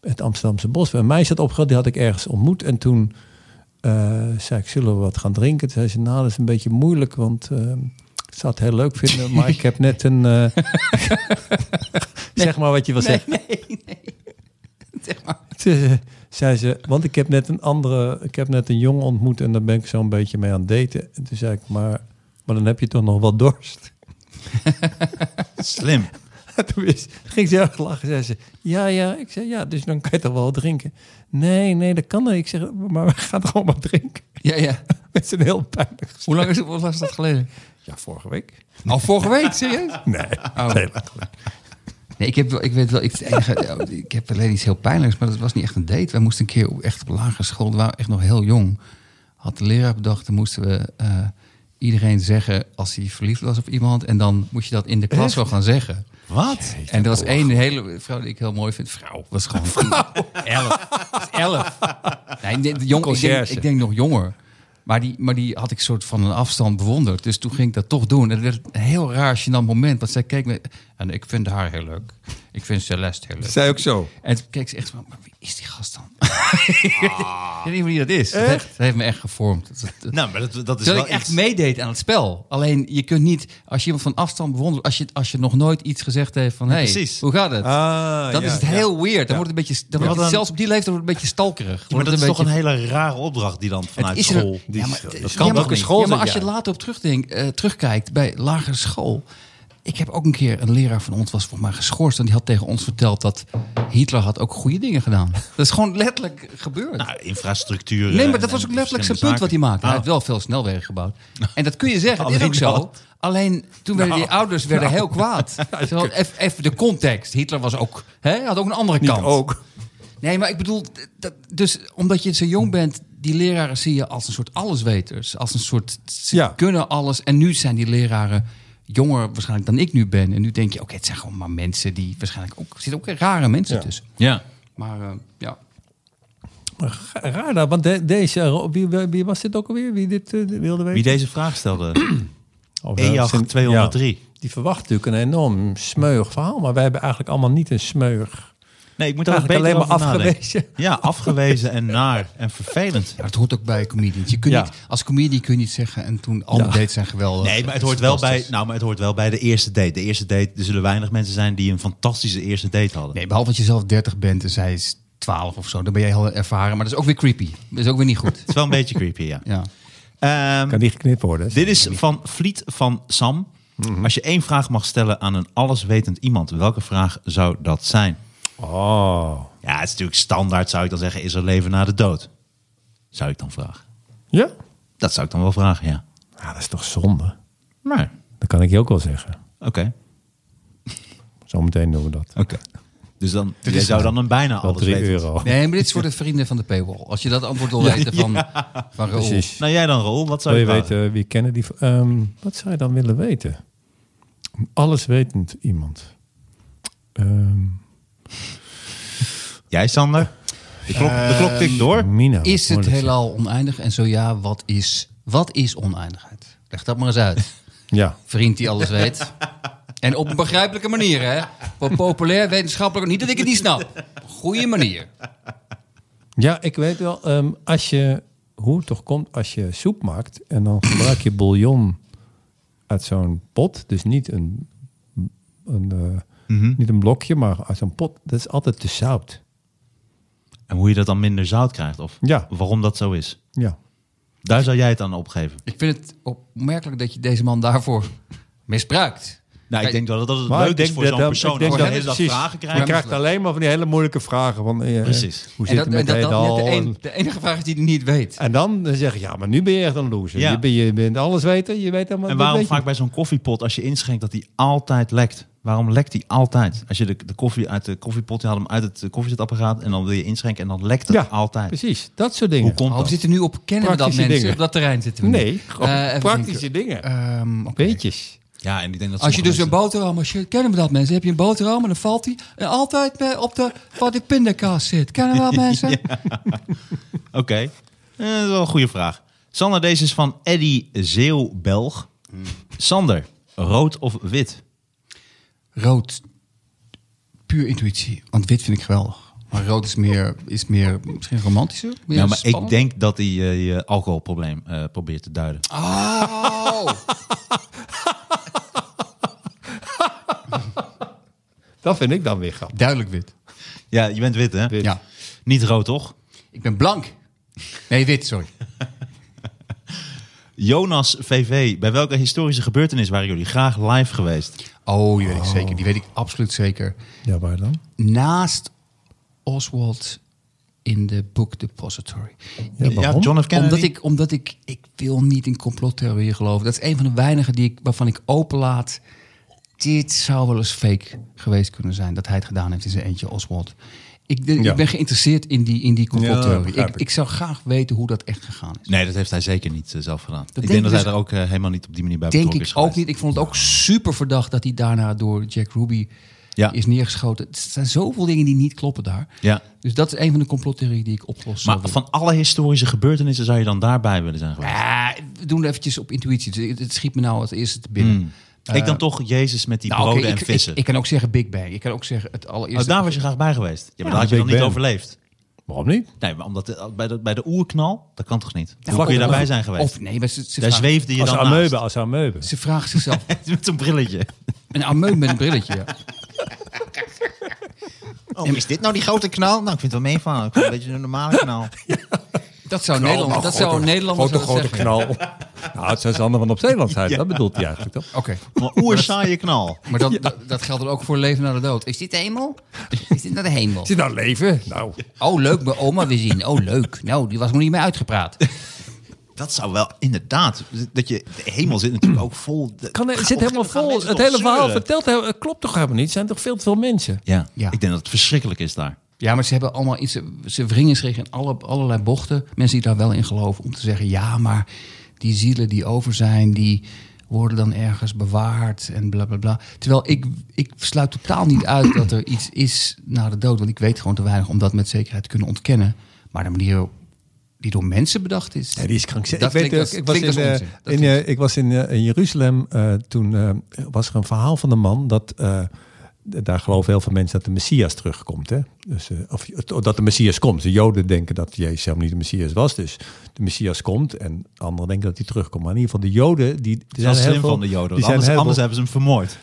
Speaker 3: het Amsterdamse bos. Een meisje had opgebeld, die had ik ergens ontmoet. En toen eh, zei ik, zullen we wat gaan drinken? Toen zei ze, nou, dat is een beetje moeilijk, want... eh, ik zou het heel leuk vinden, maar ik heb net een... eh, zeg maar wat je wil zeggen. Toen ze- zei ze, want ik heb net een andere, ik heb net een jongen ontmoet en daar ben ik zo'n beetje mee aan het daten. En toen zei ik, maar, maar dan heb je toch nog wel dorst.
Speaker 2: Slim.
Speaker 3: Toen is, ging ze erg lachen. Zei ze, ja, ja. Ik zei, ja, dus dan kan je toch wel wat drinken. Nee, nee, dat kan niet. Ik zeg, maar we gaan toch gewoon wat drinken.
Speaker 4: Ja, ja.
Speaker 3: Met zijn heel pijnlijk.
Speaker 4: Hoe lang is, het, hoe lang is dat geleden?
Speaker 3: Ja, vorige week.
Speaker 4: Al vorige week, serieus?
Speaker 3: Nee,
Speaker 4: Oh.
Speaker 3: heel erg leuk.
Speaker 4: Nee, ik heb wel, ik weet wel, ik, het enige- oh, ik heb alleen iets heel pijnlijks, maar dat was niet echt een date. Wij moesten een keer op, echt op lagere school, we waren echt nog heel jong. Had de leraar bedacht, dan moesten we eh, iedereen zeggen als hij verliefd was op iemand. En dan moest je dat in de klas wel gaan zeggen.
Speaker 2: Wat?
Speaker 4: En er was één hele vrouw die ik heel mooi vind. Vrouw, was gewoon vrouw. Elf. Dat is elf. Nee, nee, de jong, ik, denk,
Speaker 3: Conciërge.
Speaker 4: ik denk nog jonger. Maar die, maar die had ik soort van een afstand bewonderd. Dus toen ging ik dat toch doen. En het werd een heel raar, gênant moment. Want zij keek me... En ik vind haar heel leuk. Ik vind Celeste heel leuk.
Speaker 3: Zij ook zo.
Speaker 4: En toen keek ze echt van... Maar wie is die gast dan? ik weet niet wie dat is. Dat heeft, dat heeft me Ah. echt gevormd. Dat- dat- dat-
Speaker 2: Nou, maar dat, dat is
Speaker 4: dat
Speaker 2: wel
Speaker 4: ik echt
Speaker 2: iets-
Speaker 4: meedeed aan het spel. Alleen je kunt niet, als je iemand van afstand bewondert, als je, als je nog nooit iets gezegd heeft van hey,
Speaker 2: precies.
Speaker 4: hoe gaat het?
Speaker 3: Ah,
Speaker 4: dan
Speaker 3: ja,
Speaker 4: is het
Speaker 3: ja.
Speaker 4: heel weird. Dan wordt het een beetje, dan wordt het,
Speaker 2: dan-
Speaker 4: zelfs op die leeftijd wordt het een beetje stalkerig.
Speaker 2: Ja, maar
Speaker 4: Wordt
Speaker 2: dat is
Speaker 4: het
Speaker 2: toch
Speaker 4: beetje-
Speaker 2: een hele rare opdracht die dan vanuit
Speaker 4: is er-
Speaker 2: school...
Speaker 4: Ja, maar,
Speaker 2: dat kan toch
Speaker 4: dat ja, maar,
Speaker 2: niet?
Speaker 4: ja, maar
Speaker 3: zeg
Speaker 4: als je
Speaker 3: jij.
Speaker 4: later op terugdenkt, eh, terugkijkt bij lagere school. Ik heb ook een keer een leraar van ons was volgens mij geschorst. En die had tegen ons verteld dat Hitler had ook goede dingen gedaan. Dat is gewoon letterlijk gebeurd.
Speaker 2: Nou, infrastructuur...
Speaker 4: Nee,
Speaker 2: en-
Speaker 4: maar dat was
Speaker 2: en
Speaker 4: ook letterlijk zijn
Speaker 2: verschillende
Speaker 4: punt wat hij maakte. Hij
Speaker 3: Oh.
Speaker 2: zaken. Ah.
Speaker 4: heeft wel veel snelwegen gebouwd. En dat kun je zeggen, dat is
Speaker 2: Alleen
Speaker 4: ook zo.
Speaker 2: dat.
Speaker 4: Alleen toen werden
Speaker 3: Nou.
Speaker 4: die ouders werden heel kwaad. Ze hadden Even even de context. Hitler was ook, hè, had ook een andere kant.
Speaker 3: Ook.
Speaker 4: Nee, maar ik bedoel, dat, dus omdat je zo jong bent, die leraren zie je als een soort allesweters. Als een soort, ze
Speaker 3: Ja.
Speaker 4: kunnen alles. En nu zijn die leraren jonger waarschijnlijk dan ik nu ben. En nu denk je, oké, het zijn gewoon maar mensen die waarschijnlijk ook... Er zitten ook rare mensen
Speaker 3: Ja.
Speaker 4: tussen.
Speaker 2: Ja.
Speaker 4: Maar eh, ja,
Speaker 3: Maar ga- Raar dat, want de- deze... Wie, wie was dit ook alweer? Wie dit eh, wilde weten?
Speaker 2: Wie deze vraag stelde,
Speaker 3: Oh, ja,
Speaker 2: EJAG
Speaker 3: zijn-
Speaker 2: 203.
Speaker 3: ja. Die verwacht natuurlijk een enorm smeuig verhaal, maar wij hebben eigenlijk allemaal niet een smeuig.
Speaker 2: Nee, ik moet daar
Speaker 3: Eigenlijk
Speaker 2: beter
Speaker 3: alleen maar
Speaker 2: over nadenken.
Speaker 3: afgewezen.
Speaker 2: Ja, afgewezen en naar en vervelend.
Speaker 4: Ja, maar het hoort ook bij comedians. Je kunt
Speaker 3: Ja.
Speaker 4: niet, als comedian kun je niet zeggen en toen alle
Speaker 3: Ja.
Speaker 4: dates zijn geweldig.
Speaker 2: Nee, maar het
Speaker 4: is
Speaker 2: hoort, wel bij,
Speaker 4: fantastisch.
Speaker 2: nou, maar het hoort wel bij de eerste date. De eerste date, er zullen weinig mensen zijn die een fantastische eerste date hadden.
Speaker 4: Nee, behalve dat je zelf 30 bent en zij is 12 of zo. Dan ben je heel ervaren. Maar dat is ook weer creepy. Dat is ook weer niet goed.
Speaker 2: Het is wel een beetje creepy, ja.
Speaker 4: Ja.
Speaker 2: Ehm,
Speaker 3: Kan die geknipt worden?
Speaker 2: dit is van Vliet van Sam.
Speaker 4: Mhm.
Speaker 2: Als je één vraag mag stellen aan een alleswetend iemand, welke vraag zou dat zijn?
Speaker 3: Oh.
Speaker 2: Ja, het is natuurlijk standaard, zou ik dan zeggen, is er leven na de dood? Zou ik dan vragen.
Speaker 3: Ja?
Speaker 2: Dat zou ik dan wel vragen, ja.
Speaker 3: Nou, dat is toch zonde?
Speaker 2: Maar,
Speaker 3: Dat kan ik je ook wel zeggen.
Speaker 2: oké.
Speaker 3: Zometeen doen we dat.
Speaker 2: oké. Dus dan, jij zou dan een bijna
Speaker 3: Wel
Speaker 2: alles
Speaker 3: 3
Speaker 2: weten.
Speaker 3: euro.
Speaker 4: Nee, maar dit is voor de vrienden van de paywall. Als je dat antwoord wil weten van, van Raoul.
Speaker 3: Precies.
Speaker 2: Nou, jij dan, Rol, wat zou
Speaker 3: Wil
Speaker 2: je,
Speaker 3: je
Speaker 2: vragen?
Speaker 3: weten wie kennen die... ehm, wat zou je dan willen weten? Een Alleswetend iemand. Ehm
Speaker 2: Jij, Sander? De klok, de klok tikt door.
Speaker 3: Mina.
Speaker 4: Is
Speaker 3: wat
Speaker 4: het
Speaker 3: moeilijk.
Speaker 4: heelal oneindig? En zo ja, wat is, wat is oneindigheid? Leg dat maar eens uit.
Speaker 3: Ja.
Speaker 4: Vriend die alles weet. En op een begrijpelijke manier, hè? Op een populair, wetenschappelijk. Niet dat ik het niet snap. Goede manier.
Speaker 3: Ja, ik weet wel. ehm, als je, hoe het toch komt als je soep maakt en dan gebruik je bouillon uit zo'n pot. Dus niet een, een, eh,
Speaker 4: Mhm.
Speaker 3: niet een blokje, maar uit zo'n pot. Dat is altijd te zout.
Speaker 2: En hoe je dat dan minder zout krijgt, of
Speaker 3: Ja.
Speaker 2: waarom dat zo is.
Speaker 3: Ja.
Speaker 2: Daar zou jij het aan opgeven.
Speaker 4: Ik vind het opmerkelijk dat je deze man daarvoor misbruikt.
Speaker 2: Nou, ik
Speaker 4: Kijk,
Speaker 2: denk dat het, dat het
Speaker 3: Maar
Speaker 2: leuk
Speaker 3: ik
Speaker 2: is
Speaker 3: denk
Speaker 2: voor
Speaker 3: dat
Speaker 2: zo'n
Speaker 3: dat-
Speaker 2: persoon.
Speaker 3: ik denk
Speaker 2: als je de hele dag
Speaker 4: dat-
Speaker 3: precies.
Speaker 2: vragen
Speaker 3: Je
Speaker 2: krijgt.
Speaker 3: krijgt alleen maar van die hele moeilijke vragen. Van, eh,
Speaker 2: Precies.
Speaker 3: Hoe
Speaker 4: En
Speaker 3: zit
Speaker 4: dat,
Speaker 3: het met
Speaker 4: en dat, dat net
Speaker 3: heelal?
Speaker 4: de, een-
Speaker 3: En-
Speaker 4: de enige vraag is die hij niet weet.
Speaker 3: En dan eh, zeg je, ja, maar nu ben je echt een loser.
Speaker 2: Ja.
Speaker 3: Je, bent- je bent alles weten, je weet helemaal
Speaker 2: En
Speaker 3: dit
Speaker 2: waarom
Speaker 3: weet je
Speaker 2: vaak bij zo'n koffiepot, als je inschenkt, dat die altijd lekt? Waarom lekt die altijd? Als je de, de koffie uit de koffiepot, je had hem uit het eh, koffiezetapparaat en dan wil je inschenken en dan lekt het
Speaker 3: Ja,
Speaker 2: altijd.
Speaker 3: Precies, dat soort dingen.
Speaker 2: Hoe komt
Speaker 4: Oh, we
Speaker 2: dat?
Speaker 4: zitten nu op kennen we dat
Speaker 3: Praktische
Speaker 4: mensen.
Speaker 3: dingen.
Speaker 4: Op dat terrein zitten we nu.
Speaker 3: Nee, gewoon
Speaker 4: Eh, even
Speaker 3: praktische dingen.
Speaker 4: denken. Ehm, oké.
Speaker 3: Beetjes.
Speaker 2: Ja, en ik denk dat
Speaker 4: Als je
Speaker 2: sommige
Speaker 4: dus een
Speaker 2: mensen-
Speaker 4: boterham, als je, kennen we dat mensen? Heb je een boterham en dan valt die en altijd bij- op de, waar de pindakaas zit. Kennen we dat mensen?
Speaker 2: Oké, Eh, dat is wel een goede vraag. Sander, deze is van Eddy Zeeuw-Belg.
Speaker 4: Hmm.
Speaker 2: Sander, rood of wit?
Speaker 4: Rood, puur intuïtie. Want wit vind ik geweldig. Maar rood is meer, is meer misschien romantischer. Meer
Speaker 2: Ja,
Speaker 3: Nou,
Speaker 2: Nou, maar ik
Speaker 4: spannend.
Speaker 2: denk dat hij eh, je alcoholprobleem eh, probeert te duiden.
Speaker 4: Ah. Oh,
Speaker 3: Dat vind ik dan weer grappig.
Speaker 4: duidelijk wit.
Speaker 2: Ja, je bent wit, hè?
Speaker 4: Ja.
Speaker 2: Niet rood, toch?
Speaker 4: Ik ben blank. Nee, wit, sorry.
Speaker 2: Jonas VV, bij welke historische gebeurtenis waren jullie graag live geweest?
Speaker 4: Oh, die weet ik zeker. Die weet ik absoluut zeker.
Speaker 3: Ja, waar dan?
Speaker 4: Naast Oswald in de Book Depository.
Speaker 3: waarom?
Speaker 2: John F. Kennedy.
Speaker 4: Omdat ik, omdat ik, ik wil niet in complottheorieën geloven. Dat is een van de weinigen die ik, waarvan ik openlaat. Dit zou wel eens fake geweest kunnen zijn. Dat hij het gedaan heeft in zijn eentje, Oswald. Ik, de-
Speaker 3: Ja.
Speaker 4: ik ben geïnteresseerd in die, in die
Speaker 3: Ja,
Speaker 4: complottheorie.
Speaker 3: begrijp
Speaker 4: ik,
Speaker 3: ik.
Speaker 4: ik zou graag weten hoe dat echt gegaan is.
Speaker 2: Nee, dat heeft hij zeker niet eh, zelf gedaan. ik
Speaker 4: denk
Speaker 2: denk dat
Speaker 4: ik
Speaker 2: hij
Speaker 4: dus-
Speaker 2: er ook eh, helemaal niet op die manier bij
Speaker 4: Denk
Speaker 2: betrokken
Speaker 4: ik
Speaker 2: is
Speaker 4: ook
Speaker 2: geweest.
Speaker 4: niet. Ik vond het ook super verdacht dat hij daarna door Jack Ruby
Speaker 2: Ja.
Speaker 4: is neergeschoten. Er zijn zoveel dingen die niet kloppen daar.
Speaker 2: Ja.
Speaker 4: Dus dat is een van de complottheorieën die ik oplos. zou
Speaker 2: Maar
Speaker 4: willen.
Speaker 2: van alle historische gebeurtenissen zou je dan daarbij willen zijn geweest?
Speaker 4: Ah, we doen het eventjes op intuïtie. Dus het- het schiet me nou het eerste te binnen.
Speaker 2: ik dan toch Jezus met die
Speaker 4: Eh. Nou, oké,
Speaker 2: Hmm. broden
Speaker 4: ik,
Speaker 2: en
Speaker 4: ik-
Speaker 2: vissen.
Speaker 4: Ik, kan ook zeggen Big Bang. Ik kan ook zeggen het allereerste.
Speaker 2: oh, daar was je graag bij geweest. Ja, maar daar had je
Speaker 3: Big
Speaker 2: dan niet
Speaker 3: Ben.
Speaker 2: overleefd.
Speaker 3: Waarom niet?
Speaker 2: Nee, maar omdat eh, bij de, bij de oerknal, dat kan toch niet? Hoe
Speaker 4: Nou,
Speaker 2: kon je
Speaker 4: of-
Speaker 2: daarbij zijn geweest?
Speaker 4: Of nee, maar ze, ze,
Speaker 2: daar
Speaker 4: vraagt,
Speaker 2: zweefde je
Speaker 3: Als
Speaker 2: dan
Speaker 3: ameuben, als ameuben.
Speaker 4: ze vraagt zichzelf.
Speaker 2: naast. met een brilletje.
Speaker 4: een ameu met een brilletje. ja.
Speaker 2: Oh, is dit nou die grote knal? Nou, ik vind het wel meevallen. Ik vind het een beetje een normale knal.
Speaker 4: Dat zou Nederland. Dat zou Nederland
Speaker 3: Grote,
Speaker 4: zeggen.
Speaker 3: grote knal. nou, het zou Sander van op Zeeland zijn. Dat bedoelt hij eigenlijk toch?
Speaker 4: Oké,
Speaker 2: Maar oersaaie knal.
Speaker 4: maar dat, dat, dat geldt dan ook voor leven na de dood. Is dit de hemel? Is dit naar de hemel?
Speaker 3: Zit nou leven? Nou,
Speaker 4: Oh, leuk, mijn oma weer zien. Oh, leuk. Nou, die was nog niet meer uitgepraat.
Speaker 2: Dat zou wel inderdaad. Dat je, de hemel zit natuurlijk ook vol. De-
Speaker 3: kan,
Speaker 2: Gaan-
Speaker 3: het zit helemaal
Speaker 2: gaan
Speaker 3: vol.
Speaker 2: mensen
Speaker 3: Het
Speaker 2: toch
Speaker 3: hele verhaal
Speaker 2: zeuren?
Speaker 3: vertelt, heel- het klopt toch helemaal niet? Er zijn toch veel te veel mensen?
Speaker 2: Ja,
Speaker 4: Ja.
Speaker 2: ik denk dat het verschrikkelijk is daar.
Speaker 4: Ja, maar ze hebben allemaal iets. Ze wringen zich in alle, allerlei bochten. Mensen die daar wel in geloven. Om te zeggen: ja, maar die zielen die over zijn, die worden dan ergens bewaard en bla bla bla. Terwijl ik, ik sluit totaal niet uit dat er iets is na de dood. Want ik weet gewoon te weinig om dat met zekerheid te kunnen ontkennen. Maar de manier die door mensen bedacht is.
Speaker 3: Ja, die is krankzinnig.
Speaker 4: Dat
Speaker 3: Ik, weet,
Speaker 4: klinkt
Speaker 3: ook,
Speaker 4: als-
Speaker 3: ik was
Speaker 4: klinkt
Speaker 3: in,
Speaker 4: als
Speaker 3: eh,
Speaker 4: onzin. Dat
Speaker 3: in,
Speaker 4: klinkt
Speaker 3: eh, ik was in, eh, in Jeruzalem. eh, toen eh, was er een verhaal van een man dat. eh, d- daar geloven heel veel mensen dat de Messias terugkomt. Hè? Dus, eh, of eh, dat de Messias komt. De Joden denken dat Jezus helemaal niet de Messias was. Dus de Messias komt. En anderen denken dat hij terugkomt. Maar in ieder geval de Joden... Die, er
Speaker 2: Dat is
Speaker 3: zijn
Speaker 2: wel
Speaker 3: heel
Speaker 2: slim
Speaker 3: veel-
Speaker 2: van de Joden.
Speaker 3: Die
Speaker 2: want
Speaker 3: zijn
Speaker 2: Anders,
Speaker 3: heel
Speaker 2: anders
Speaker 3: veel-
Speaker 2: hebben ze hem vermoord.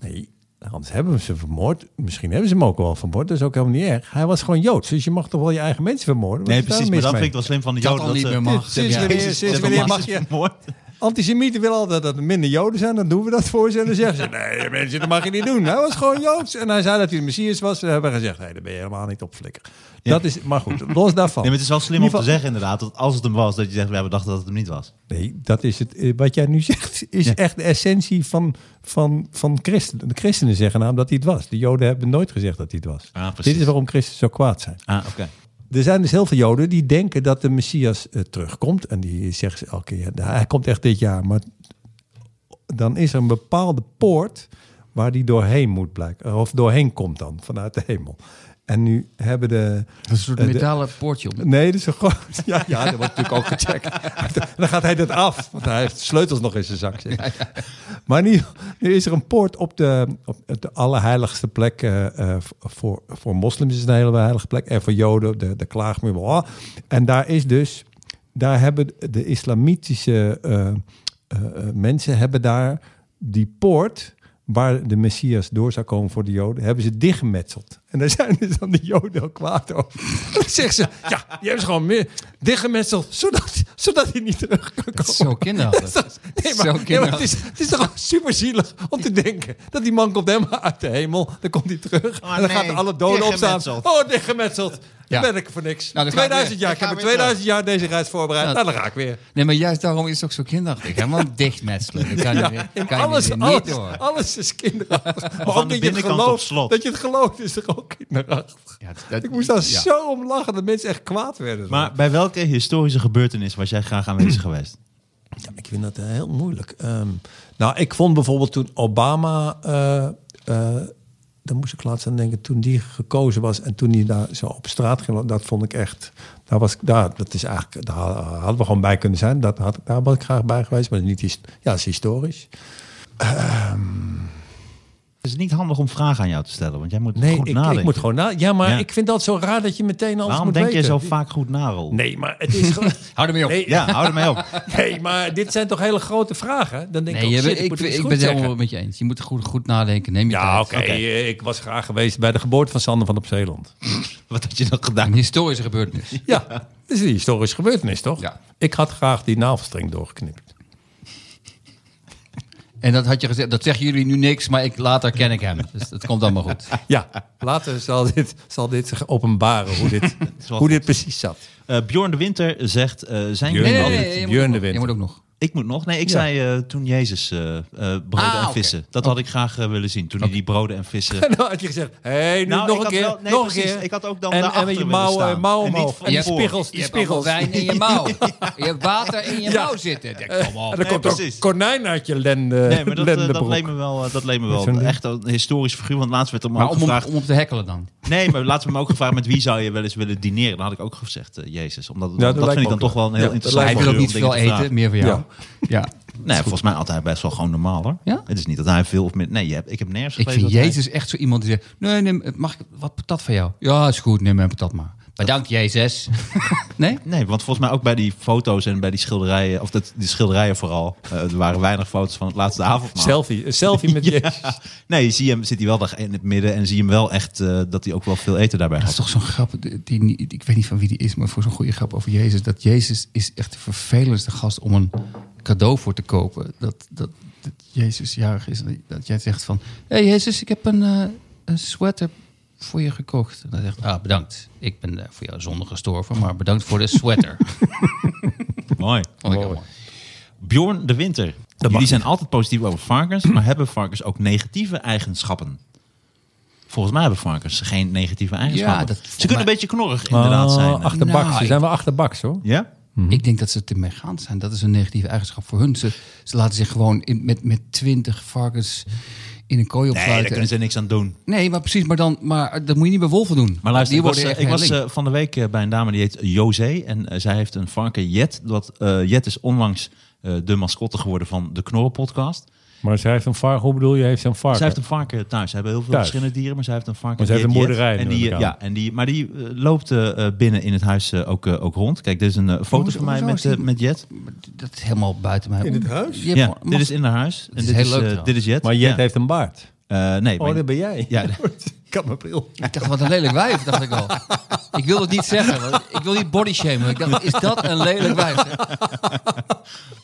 Speaker 3: Nee, anders hebben we ze vermoord. Misschien hebben ze hem ook wel vermoord. Dat is ook helemaal niet erg. Hij was gewoon Joods. Dus je mag toch wel je eigen mensen vermoorden? Wat
Speaker 2: Nee,
Speaker 3: is daar
Speaker 2: precies.
Speaker 3: mis
Speaker 2: Maar dat
Speaker 3: mee?
Speaker 2: vind ik wel slim van de
Speaker 4: Dat
Speaker 2: Joden.
Speaker 4: al niet
Speaker 2: ze-
Speaker 4: meer mag.
Speaker 3: eh, Sinds
Speaker 4: Ja.
Speaker 3: wanneer-
Speaker 4: Jezus,
Speaker 3: sinds
Speaker 2: dat
Speaker 4: dat
Speaker 3: wanneer
Speaker 4: mag.
Speaker 3: mag je...
Speaker 2: vermoord.
Speaker 3: Antisemieten willen altijd dat er minder Joden zijn, dan doen we dat voor ze. En dan zeggen ze, nee mensen, dat mag je niet doen. Hij was gewoon Joods. En hij zei dat hij de Messias was. We hebben gezegd, nee, daar ben je helemaal niet op flikker. Dat is, maar goed, los daarvan.
Speaker 2: Nee, maar het is wel slim
Speaker 3: Oh. In
Speaker 2: om te
Speaker 3: ieder geval-
Speaker 2: zeggen inderdaad. Dat als het hem was, dat je zegt, ja, we dachten dat het hem niet was.
Speaker 3: Nee, dat is het. eh, Wat jij nu zegt, is
Speaker 2: Ja.
Speaker 3: echt de essentie van, van, van christenen. De christenen zeggen namelijk dat hij het was. De Joden hebben nooit gezegd dat hij het was.
Speaker 2: Ah, precies.
Speaker 3: Dit is waarom christenen zo kwaad zijn.
Speaker 2: Ah, oké.
Speaker 3: Er zijn dus heel veel Joden die denken dat de Messias eh, terugkomt. En die zeggen ze elke keer, "Nou, hij komt echt dit jaar. Maar dan is er een bepaalde poort waar die doorheen moet blijken. Of doorheen komt dan, vanuit de hemel. En nu hebben de...
Speaker 4: Een soort
Speaker 3: eh, de-
Speaker 4: metalen poortje om.
Speaker 3: Nee, dat is een groot. Ja, ja, dat wordt natuurlijk ook gecheckt. Dan gaat hij dat af, want hij heeft sleutels nog in zijn zak. zeg. Maar nu, nu is er een poort op de, op de allerheiligste plek. eh, eh, voor, voor moslims is het een hele heilige plek. En voor joden, de, de klaagmuur. bla. En daar is dus, daar hebben de islamitische eh, eh, eh, mensen hebben daar die poort waar de Messias door zou komen voor de Joden, hebben ze dichtgemetseld. En daar zijn dus dan de Joden ook kwaad over. Dan zeggen ze, ja, die hebben ze gewoon meer dichtgemetseld, zodat, zodat hij niet terug kan
Speaker 4: Dat
Speaker 3: komen.
Speaker 4: is zo kinderachtig.
Speaker 3: Dat is- Nee, maar,
Speaker 4: Zo
Speaker 3: nee, maar
Speaker 4: kinderachtig.
Speaker 3: het, is, het is toch super zielig om te denken dat die man komt helemaal uit de hemel, dan komt hij terug en dan
Speaker 2: Oh, nee,
Speaker 3: gaat alle doden opstaan.
Speaker 2: dichtgemetseld.
Speaker 3: Oh, dichtgemetseld.
Speaker 4: Ja.
Speaker 3: Dan ben ik er voor niks.
Speaker 4: Nou, dan ga ik
Speaker 3: 2000
Speaker 4: weer.
Speaker 3: jaar, ik
Speaker 2: Dan
Speaker 3: heb
Speaker 2: ga
Speaker 3: me
Speaker 2: ik weer
Speaker 3: 2000 jaar deze reis voorbereid.
Speaker 4: Nou,
Speaker 3: Nou, dan ga ik weer.
Speaker 4: Nee, maar juist daarom is het ook zo kinderachtig. Helemaal dichtmetselen. Dat kan, je,
Speaker 3: Ja,
Speaker 4: weer- kan
Speaker 3: alles,
Speaker 4: je weer niet
Speaker 3: alles,
Speaker 4: door.
Speaker 3: alles is kinderachtig. Maar
Speaker 2: Van de
Speaker 3: ook dat je, het
Speaker 2: binnenkant op
Speaker 3: gelooft,
Speaker 2: slot.
Speaker 3: dat je het gelooft is toch ook kinderachtig.
Speaker 4: Ja, dat-
Speaker 3: ik moest daar
Speaker 4: ja.
Speaker 3: zo om lachen dat mensen echt kwaad werden.
Speaker 2: Maar bij welke historische gebeurtenis was jij graag aanwezig geweest?
Speaker 3: Ja, ik vind dat eh, heel moeilijk. Ehm, nou, ik vond bijvoorbeeld toen Obama, eh, eh, daar moest ik laatst aan denken, toen die gekozen was en toen die daar zo op straat ging, dat vond ik echt, daar was ik, daar, dat is eigenlijk, daar hadden we gewoon bij kunnen zijn, dat had, ik- daar was ik graag bij geweest, maar niet, his- ja, dat is historisch.
Speaker 2: Het is niet handig om vragen aan jou te stellen, want jij moet
Speaker 3: Nee,
Speaker 2: goed
Speaker 3: ik,
Speaker 2: nadenken.
Speaker 3: ik moet gewoon na, ja, maar
Speaker 2: Ja.
Speaker 3: ik vind dat zo raar dat je meteen alles
Speaker 2: Waarom
Speaker 3: moet
Speaker 2: denk je
Speaker 3: weten.
Speaker 2: zo vaak goed na, Roel?
Speaker 3: Nee, maar het is gewoon,
Speaker 4: Hou ermee op.
Speaker 3: nee,
Speaker 2: Ja, hou er mee op.
Speaker 3: nee, maar dit zijn toch hele grote vragen? Dan denk
Speaker 4: Nee,
Speaker 3: ik,
Speaker 4: je
Speaker 3: oh, shit,
Speaker 4: bent-
Speaker 3: ik,
Speaker 4: ik,
Speaker 3: moet
Speaker 4: ik,
Speaker 3: iets
Speaker 4: ben
Speaker 3: goed
Speaker 4: het
Speaker 3: zeggen.
Speaker 4: helemaal met je eens. Je moet goed, goed nadenken. Neem je
Speaker 3: Ja,
Speaker 4: tijd.
Speaker 3: oké. eh, Ik was graag geweest bij de geboorte van Sander van op Zeeland.
Speaker 2: Wat had je dan
Speaker 4: Een
Speaker 2: gedaan?
Speaker 4: historische gebeurtenis.
Speaker 3: Ja, dat is een historische gebeurtenis, toch?
Speaker 4: Ja.
Speaker 3: Ik had graag die navelstreng doorgeknipt.
Speaker 4: En dat had je gezegd. Dat zeggen jullie nu niks, maar ik, later ken ik hem. Dus dat komt allemaal goed.
Speaker 3: Ja, later zal dit, zal dit zich openbaren hoe dit,
Speaker 2: wel
Speaker 3: hoe dit precies zat.
Speaker 2: Eh Bjorn de Winter zegt, eh, zijn
Speaker 3: Bjorn
Speaker 2: jullie
Speaker 3: de
Speaker 2: al-
Speaker 3: Winter.
Speaker 4: je, moet
Speaker 3: Björn de
Speaker 4: ook nog- je
Speaker 3: Winter.
Speaker 4: moet ook nog.
Speaker 2: Ik moet nog. Nee, ik zei eh, toen Jezus eh eh, broden
Speaker 4: Ah,
Speaker 2: en
Speaker 4: oké.
Speaker 2: vissen. Dat had ik graag eh, willen zien. Toen hij die broden en vissen...
Speaker 3: En dan had je gezegd, hé, hey, nu
Speaker 2: Nou, ik
Speaker 3: nog een
Speaker 2: had
Speaker 3: keer,
Speaker 2: wel- nee,
Speaker 3: nog
Speaker 2: precies.
Speaker 3: een keer.
Speaker 2: Ik had ook dan
Speaker 3: en,
Speaker 2: daarachter
Speaker 3: en met je
Speaker 2: willen
Speaker 3: mouw,
Speaker 2: staan.
Speaker 3: eh, mouw
Speaker 2: En niet
Speaker 3: omhoog.
Speaker 2: van
Speaker 3: En, die
Speaker 2: voor.
Speaker 3: spiegels, die
Speaker 4: Je hebt allemaal
Speaker 3: spiegels.
Speaker 4: wijn in je mouw. Je hebt water in je mouw zitten. Denk, kom op.
Speaker 3: En dan komt er
Speaker 2: precies.
Speaker 3: ook konijn uit je lende,
Speaker 2: Nee, maar dat, eh, dat
Speaker 3: lendebroek.
Speaker 2: leek me wel, eh, dat leek me
Speaker 3: Met zo'n
Speaker 2: wel
Speaker 3: ding.
Speaker 2: echt een historisch figuur. Want laatst werd er me
Speaker 4: Maar
Speaker 2: ook
Speaker 4: om,
Speaker 2: gevraagd...
Speaker 4: hem- om hem te hekkelen dan.
Speaker 2: Nee, maar laatst werd me ook gevraagd met wie zou je wel eens willen dineren. Dan had ik ook gezegd eh, Jezus. Omdat,
Speaker 3: dat
Speaker 2: dat,
Speaker 3: lijkt me
Speaker 2: vind ik dan
Speaker 3: ook
Speaker 2: toch
Speaker 3: wel.
Speaker 2: wel een
Speaker 3: Ja,
Speaker 2: heel
Speaker 3: dat
Speaker 2: interessant
Speaker 3: lijkt me
Speaker 4: Hij wil ook
Speaker 2: figuur om dingen
Speaker 4: niet veel
Speaker 2: te vragen.
Speaker 4: eten, meer voor jou. Ja.
Speaker 2: Nee, volgens mij altijd best wel gewoon normaal hoor.
Speaker 4: Ja?
Speaker 2: Het is niet dat hij veel of minder... Nee, je hebt, ik heb nergens
Speaker 4: Ik
Speaker 2: gelezen
Speaker 4: vind
Speaker 2: dat hij-
Speaker 4: Jezus echt zo iemand die zegt... Nee, neem, mag ik wat patat van jou? Ja, is goed, neem mijn patat maar. Bedankt, Jezus. nee?
Speaker 2: Nee, want volgens mij ook bij die foto's en bij die schilderijen... Of dat, die schilderijen vooral. eh, er waren weinig foto's van het laatste avondmaal.
Speaker 3: Selfie, een selfie met je.
Speaker 2: Ja. Nee, zie hem, zit hij wel daar in het midden en zie hem wel echt eh, dat hij ook wel veel eten daarbij
Speaker 4: Dat is
Speaker 2: had.
Speaker 4: toch zo'n grap, die, niet- ik weet niet van wie die is... maar voor zo'n goede grap over Jezus... dat Jezus is echt de vervelendste gast om een cadeau voor te kopen. Dat, dat, dat Jezus jarig is. en Dat jij zegt van... Hé hey Jezus, ik heb een, eh, een sweater voor je gekocht. En dan zegt ah bedankt. Ik ben eh, voor jouw zonde gestorven, maar bedankt voor de sweater.
Speaker 2: Mooi.
Speaker 4: Vond ik heel mooi.
Speaker 2: Bjorn de Winter. Jullie
Speaker 3: mag
Speaker 2: zijn altijd positief over varkens, maar hebben varkens ook negatieve eigenschappen? Volgens mij hebben varkens geen negatieve eigenschappen.
Speaker 4: dat-
Speaker 2: Ze
Speaker 4: volgens
Speaker 2: kunnen een
Speaker 4: mij-
Speaker 2: beetje knorrig inderdaad zijn.
Speaker 3: Oh, achterbaks,
Speaker 4: Nou,
Speaker 3: ze
Speaker 4: ik-
Speaker 3: zijn wel achterbaks hoor.
Speaker 2: Ja?
Speaker 4: Ik denk dat ze te meegaand zijn. Dat is een negatieve eigenschap voor hun. Ze, ze laten zich gewoon in- met, met twintig varkens in een kooi
Speaker 2: Nee, daar
Speaker 4: opsluiten.
Speaker 2: kunnen ze niks aan doen.
Speaker 4: Nee, maar precies. Maar, dan, maar eh, dat moet je niet bij wolven doen.
Speaker 2: Maar luister,
Speaker 4: Die
Speaker 2: ik was,
Speaker 4: worden
Speaker 2: eh,
Speaker 4: echt
Speaker 2: ik was
Speaker 4: heel link.
Speaker 2: eh, van de week eh, bij een dame die heet José. En eh, zij heeft een varken Jet. Dat, eh, Jet is onlangs eh, de mascotte geworden van de Knorren podcast.
Speaker 3: Maar zij heeft een varken, hoe bedoel je, heeft ze een varken?
Speaker 2: Zij heeft een varken thuis. Ze hebben heel veel
Speaker 3: Thuis.
Speaker 2: verschillende dieren, maar zij heeft een varken.
Speaker 3: Maar zij heeft
Speaker 2: Jet
Speaker 3: een
Speaker 2: Jet.
Speaker 3: boerderij,
Speaker 2: En
Speaker 3: neem
Speaker 2: die,
Speaker 3: ik aan.
Speaker 2: ja, en die, maar die eh, loopt eh, eh, binnen in het huis eh, ook, eh, ook rond. Kijk, dit is een eh, foto
Speaker 4: hoezo-
Speaker 2: van mij
Speaker 4: hoezo
Speaker 2: met,
Speaker 4: is die-
Speaker 2: eh, met Jet.
Speaker 4: Dat is helemaal buiten mij. In het huis? Ja,
Speaker 2: Ja, dit is in haar huis. En
Speaker 4: is
Speaker 2: dit,
Speaker 4: heel
Speaker 2: is,
Speaker 4: leuk
Speaker 2: eh,
Speaker 4: trouwens.
Speaker 2: dit is Jet.
Speaker 3: Maar Jet
Speaker 2: Ja.
Speaker 3: heeft een baard.
Speaker 2: Eh, nee,
Speaker 3: Oh,
Speaker 2: maar-
Speaker 3: dat ben jij.
Speaker 2: Ja.
Speaker 3: Ik had mijn bril.
Speaker 4: Ik dacht, wat een lelijk wijf, dacht ik al. Ik wil dat niet zeggen. want Ik wil niet bodyshamen. Ik dacht, is dat een lelijk wijf?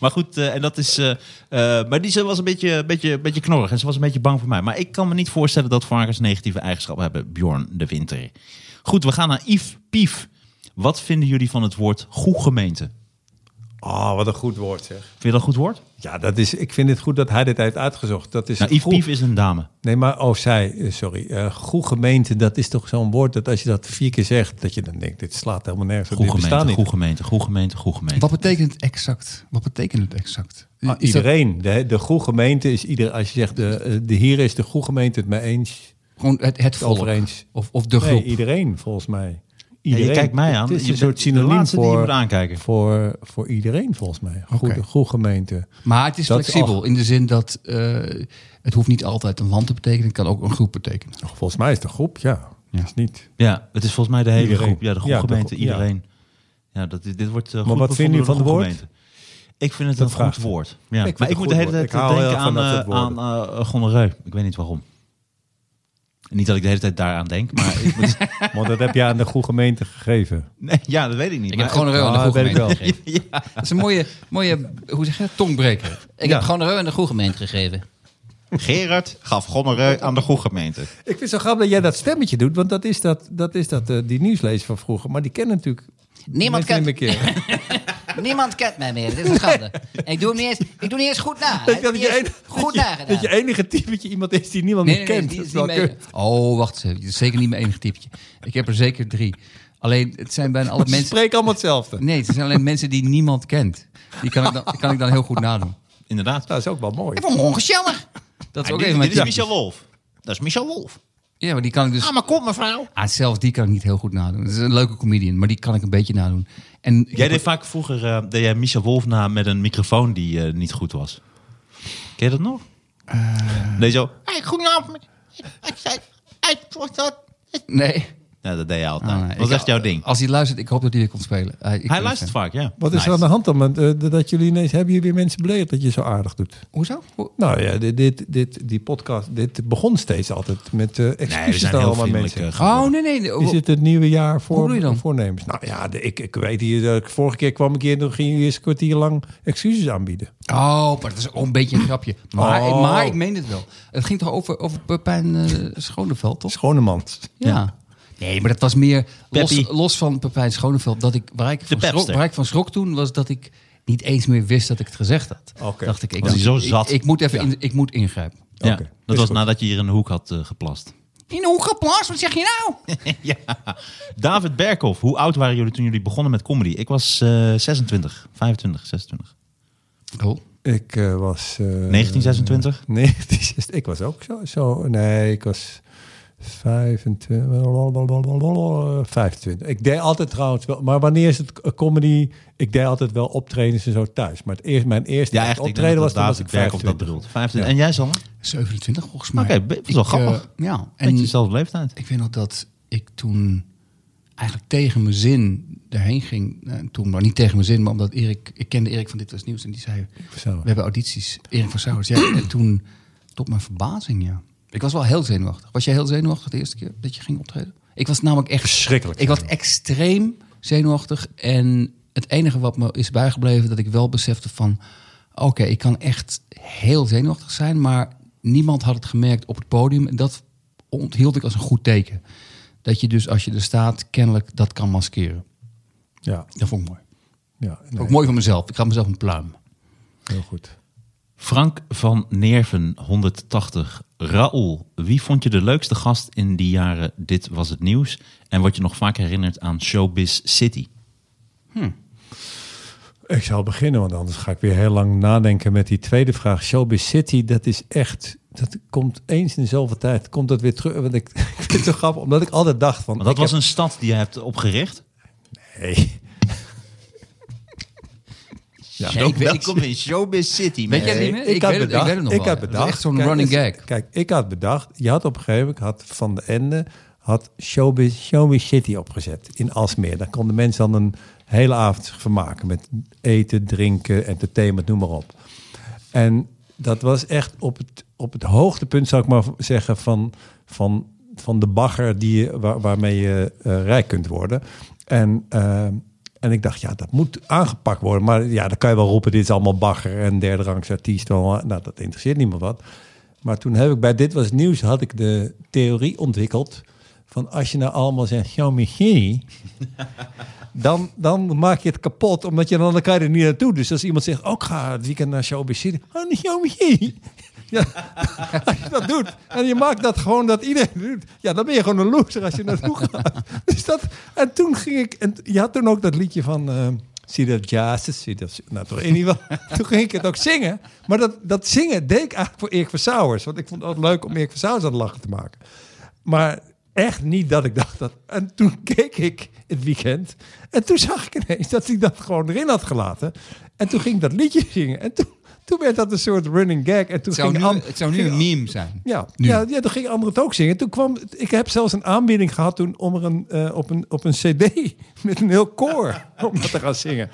Speaker 2: Maar goed, eh, en dat is. eh, eh, maar die ze was een beetje, beetje, beetje knorrig en ze was een beetje bang voor mij. Maar ik kan me niet voorstellen dat varkens negatieve eigenschappen hebben, Bjorn de Winter. Goed, we gaan naar Yves Pief. Wat vinden jullie van het woord goedgemeente?
Speaker 3: Oh, wat een goed woord zeg.
Speaker 2: Vind je dat een goed woord?
Speaker 3: Ja, dat is, ik vind het goed dat hij dit heeft uitgezocht. Dat is
Speaker 2: Nou, Yves
Speaker 3: goed-
Speaker 2: Pief is een dame.
Speaker 3: Nee, maar, oh, zij, eh, sorry. Eh goed gemeente, dat is toch zo'n woord dat als je dat vier keer zegt, dat je dan denkt, dit slaat helemaal nergens op.
Speaker 2: Goede
Speaker 3: Dit bestaat
Speaker 2: gemeente,
Speaker 3: niet.
Speaker 2: goede gemeente, goede gemeente, goede gemeente.
Speaker 4: Wat betekent het exact? Wat betekent het exact?
Speaker 3: Ah,
Speaker 4: Is dat
Speaker 3: iedereen, de, de goede gemeente is ieder, als je zegt, de, eh, de hier is de goede gemeente het mee eens.
Speaker 4: gewoon het, het volk?
Speaker 3: Over eens.
Speaker 4: Of, of de
Speaker 3: Nee,
Speaker 4: groep?
Speaker 3: iedereen volgens mij.
Speaker 2: Ja,
Speaker 3: Iedereen.
Speaker 2: je kijkt mij aan.
Speaker 3: Het is
Speaker 2: je
Speaker 3: een soort
Speaker 2: bent de
Speaker 3: synoniem
Speaker 2: laatste die je moet
Speaker 3: voor,
Speaker 2: aankijken.
Speaker 3: voor, voor iedereen volgens mij. Goede,
Speaker 4: Oké.
Speaker 3: goede gemeente.
Speaker 4: Maar het is
Speaker 3: Dat is
Speaker 4: flexibel
Speaker 3: al-
Speaker 4: in de zin dat eh, het hoeft niet altijd een land te betekenen. Het kan ook een groep betekenen.
Speaker 3: Nou, Volgens mij is het een groep, ja.
Speaker 4: Ja.
Speaker 3: Is niet.
Speaker 2: Ja, het is volgens mij de hele
Speaker 3: Iedereen.
Speaker 2: groep. Ja, de goede
Speaker 3: Ja, de
Speaker 2: gemeente,
Speaker 3: groep, ja.
Speaker 2: iedereen. Ja, dat, dit dit wordt eh,
Speaker 3: Maar
Speaker 2: goed
Speaker 3: wat vinden
Speaker 2: bevonden
Speaker 3: jullie
Speaker 2: door de
Speaker 3: van
Speaker 2: goede
Speaker 3: het woord?
Speaker 2: gemeente. Ik vind het
Speaker 3: Dat
Speaker 2: een goed
Speaker 3: vraagt-
Speaker 2: woord. Ja.
Speaker 3: vind
Speaker 2: maar
Speaker 3: het
Speaker 2: ik
Speaker 3: een
Speaker 2: moet de hele
Speaker 3: goed
Speaker 2: tijd
Speaker 3: woord. Ik hou
Speaker 2: denken
Speaker 3: heel erg
Speaker 2: aan,
Speaker 3: van dat
Speaker 2: eh,
Speaker 3: soort
Speaker 2: aan
Speaker 3: woorden.
Speaker 2: eh, gonoreu. Ik weet niet waarom. Niet dat ik de hele tijd daaraan denk, maar... ik moet-
Speaker 3: Want dat heb je aan de goede gemeente gegeven.
Speaker 2: nee, ja, dat weet ik niet.
Speaker 4: Ik
Speaker 2: maar-
Speaker 4: heb gewoon een reu aan
Speaker 3: Ah,
Speaker 4: de goede
Speaker 3: weet ik
Speaker 4: gemeente
Speaker 3: wel.
Speaker 4: gegeven. Dat is een mooie, mooie hoe zeg je dat, tongbreker. Ik heb gewoon een reu aan de goede gemeente gegeven.
Speaker 2: Gerard gaf gonoreu aan de goede gemeente.
Speaker 3: Ik vind het zo grappig dat jij dat stemmetje doet, want dat is dat, dat, is dat eh, die nieuwslezer van vroeger. Maar die kennen natuurlijk
Speaker 4: Niemand
Speaker 3: mensen
Speaker 4: kent-
Speaker 3: niet meer keer.
Speaker 5: Niemand kent mij meer. Dit is een schande. En ik doe hem niet eens, ik doe niet eens goed na. hè.
Speaker 3: dat,
Speaker 5: Niet
Speaker 3: je
Speaker 5: eens
Speaker 3: enige,
Speaker 5: goed
Speaker 3: dat, je,
Speaker 5: nagedaan.
Speaker 3: dat je enige typetje iemand is die niemand meer kent.
Speaker 4: die
Speaker 3: Dat
Speaker 4: is
Speaker 3: is
Speaker 4: niet
Speaker 3: wel
Speaker 4: mijn-
Speaker 3: kut.
Speaker 4: Oh, wacht eens even. Dit is zeker niet mijn enige typetje. Ik heb er zeker drie. Alleen, het zijn bijna alle
Speaker 3: Ze
Speaker 4: mensen...
Speaker 3: spreken allemaal hetzelfde.
Speaker 4: Nee, het zijn alleen mensen die niemand kent. Die kan ik dan, kan ik dan heel goed nadoen.
Speaker 2: Inderdaad.
Speaker 3: Dat is ook wel mooi.
Speaker 5: Ik vond hem ongezellig.
Speaker 4: Dat is
Speaker 2: En
Speaker 4: ook
Speaker 2: Ah, dit,
Speaker 4: even
Speaker 2: dit
Speaker 4: mijn
Speaker 2: is
Speaker 4: typetje.
Speaker 2: Michel Wolf. Dat is Michel Wolf.
Speaker 4: Ja, maar die kan ik dus...
Speaker 2: Ah, maar kom mevrouw.
Speaker 4: Ah, zelfs die kan ik niet heel goed nadoen. Het is een leuke comedian, maar die kan ik een beetje nadoen. En ik
Speaker 2: Jij
Speaker 4: heb-
Speaker 2: deed vaak vroeger eh, deed jij Michel Wolf na met een microfoon die eh, niet goed was. Ken je dat nog?
Speaker 3: Eh.
Speaker 2: Nee, zo.
Speaker 6: Hey, goedenavond. Ik zei, ik was dat.
Speaker 4: Nee.
Speaker 2: Ja, dat deed je altijd.
Speaker 4: Ah, nee.
Speaker 2: Dat was
Speaker 4: Ik-
Speaker 2: Nou, echt jouw ding.
Speaker 4: Als hij luistert, ik hoop dat hij weer komt spelen. Hij, ik
Speaker 2: Hij
Speaker 4: ben
Speaker 2: luistert
Speaker 4: fan.
Speaker 2: vaak, ja.
Speaker 3: Wat is
Speaker 2: Nice.
Speaker 3: er aan de hand dan? met, eh, dat jullie ineens, hebben jullie mensen beledigd dat je zo aardig doet?
Speaker 4: Hoezo? Hoe-
Speaker 3: Nou ja, dit, dit, dit, die podcast, dit begon steeds altijd met eh
Speaker 2: Nee,
Speaker 3: excuses
Speaker 2: er zijn
Speaker 3: naar
Speaker 2: heel
Speaker 3: allemaal
Speaker 2: vriendelijk
Speaker 3: mensen.
Speaker 2: eh,
Speaker 4: Oh,
Speaker 2: geworden.
Speaker 4: nee, nee. nee.
Speaker 3: Is het het nieuwe jaar voor,
Speaker 4: Hoe bedoel je dan?
Speaker 3: voornemens? Nou ja, de, ik, ik weet hier, dat ik vorige keer kwam ik hier, toen gingen jullie eens een kwartier lang excuses aanbieden.
Speaker 4: Oh, maar dat is ook een beetje een grapje. Maar,
Speaker 3: Oh.
Speaker 4: maar ik meen het wel. Het ging toch over, over Pepijn eh, Schoneveld, toch?
Speaker 3: Schone man.
Speaker 4: Ja. Nee, maar dat was meer
Speaker 2: Peppy.
Speaker 4: los, los van Pepijn Schoneveld. Dat ik, waar, ik van schrok,
Speaker 2: pepster.
Speaker 4: waar ik van schrok toen was dat ik niet eens meer wist dat ik het gezegd had.
Speaker 3: Oké.
Speaker 4: Dacht ik, ik,
Speaker 2: Was hij zo zat?
Speaker 4: ik, ik moet even in, ik moet ingrijpen.
Speaker 2: Ja,
Speaker 3: Oh, Oké,
Speaker 2: dat
Speaker 3: is
Speaker 2: was
Speaker 3: goed.
Speaker 2: nadat je hier in de hoek had eh, geplast.
Speaker 5: In de hoek geplast, wat zeg je nou?
Speaker 2: ja. David Berkhoff, hoe oud waren jullie toen jullie begonnen met comedy? Ik was eh 26, 25, 26.
Speaker 4: Cool.
Speaker 3: Ik eh, was... eh,
Speaker 2: 1926?
Speaker 3: Nee, het is juist- ik was ook zo, zo. Nee, ik was 25. 25. eh, Ik deed altijd trouwens wel. Maar wanneer is het eh, comedy? Ik deed altijd wel optredens en zo thuis. Maar het eerst, mijn eerste
Speaker 2: Ja,
Speaker 3: echt
Speaker 2: echt. Ik denk
Speaker 3: optreden
Speaker 2: dat
Speaker 3: was toen was
Speaker 2: David
Speaker 3: ik
Speaker 2: Berkhoff dat
Speaker 3: 25.
Speaker 2: bedoelt. 25. En jij, Sander?
Speaker 4: 27 volgens mij.
Speaker 2: Oké, dat is wel
Speaker 4: Ik, eh,
Speaker 2: grappig.
Speaker 4: ja,
Speaker 2: En
Speaker 4: en
Speaker 2: jezelfde leeftijd.
Speaker 4: ik weet nog dat ik toen eigenlijk tegen mijn zin daarheen ging. Eh, toen, maar niet tegen mijn zin, maar omdat Erik, ik kende Erik van Dit Was Nieuws en die zei,
Speaker 3: Verzauer.
Speaker 4: we hebben audities. Erik van Sauers, ja. En toen, tot mijn verbazing, ja. Ik was wel heel zenuwachtig. Was jij heel zenuwachtig de eerste keer dat je ging optreden? Ik was namelijk echt...
Speaker 3: Verschrikkelijk
Speaker 4: Ik was extreem zenuwachtig. En het enige wat me is bijgebleven, dat ik wel besefte van... Oké, ik kan echt heel zenuwachtig zijn, maar niemand had het gemerkt op het podium. En dat onthield ik als een goed teken. Dat je dus als je er staat, kennelijk dat kan maskeren.
Speaker 3: Ja,
Speaker 4: Dat vond ik mooi.
Speaker 3: ja nee,
Speaker 4: Ook mooi van mezelf. Ik gaf mezelf een pluim.
Speaker 3: heel goed.
Speaker 2: Frank van Nerven, 180. Raoul, wie vond je de leukste gast in die jaren? Dit was het nieuws. En word je nog vaak herinnerd aan Showbiz City?
Speaker 3: Ik zal beginnen, want anders ga ik weer heel lang nadenken met die tweede vraag. Showbiz City, dat is echt... Dat komt eens in de zoveel tijd, komt dat weer terug. Want ik, ik vind het zo grappig, omdat ik altijd dacht van...
Speaker 2: Want dat
Speaker 3: ik
Speaker 2: was
Speaker 3: heb-
Speaker 2: een stad die je hebt opgericht.
Speaker 3: Nee.
Speaker 2: Ja,
Speaker 4: ik weet-
Speaker 2: welkom in Showbiz City.
Speaker 4: Weet
Speaker 2: man.
Speaker 4: jij het niet meer?
Speaker 3: Ik, had
Speaker 4: weet het,
Speaker 3: bedacht,
Speaker 4: weet het nog
Speaker 3: ik
Speaker 4: wel.
Speaker 3: had
Speaker 4: ja. Dat is
Speaker 3: bedacht.
Speaker 4: Echt zo'n
Speaker 3: kijk,
Speaker 4: running
Speaker 3: dus-
Speaker 4: gag.
Speaker 3: Kijk, ik had bedacht. Je had op een gegeven moment had van de Ende had Showbiz, Showbiz City opgezet in Alsmeer. Daar konden mensen dan een hele avond zich vermaken met eten, drinken, entertainment, noem maar op. En dat was echt op het, op het hoogtepunt, zou ik maar zeggen, van, van, van de bagger die je, waar- waarmee je eh, rijk kunt worden. En, eh, en ik dacht, ja, dat moet aangepakt worden. Maar ja, dan kan je wel roepen, dit is allemaal bagger en derde rangs artiest. wel, Nou, dat interesseert niemand wat. Maar toen heb ik bij Dit Was Het Nieuws had ik de theorie ontwikkeld van als je nou allemaal zegt, jouw Michini, dan, dan maak je het kapot, omdat je dan, dan kan je er niet naartoe. Dus als iemand zegt, ook ik ga het weekend naar Showbiz City. Oh, niet jouw Michini. Ja, als je dat doet en je maakt dat gewoon dat iedereen doet, ja, dan ben je gewoon een loser als je naartoe gaat. Dus dat, en toen ging ik, en je had toen ook dat liedje van eh Zie dat Jazz, zie dat, nou toch in ieder geval. Toen ging ik het ook zingen, maar dat, dat zingen deed ik eigenlijk voor Erik Versauwers, want ik vond het ook leuk om Erik Versauwers aan het lachen te maken. Maar echt niet dat ik dacht dat. En toen keek ik het weekend. En toen zag ik ineens dat hij dat gewoon erin had gelaten. En toen ging ik dat liedje zingen. En toen, toen werd dat een soort running gag. En toen
Speaker 4: Het zou,
Speaker 3: ging
Speaker 4: nu,
Speaker 3: An-
Speaker 4: het zou nu
Speaker 3: ging
Speaker 4: een meme zijn.
Speaker 3: ja,
Speaker 4: Nu.
Speaker 3: ja, ja, toen ging anderen het ook zingen. Toen kwam, ik heb zelfs een aanbieding gehad toen om er een, eh, op, een, op een cd met een heel koor om dat te gaan zingen.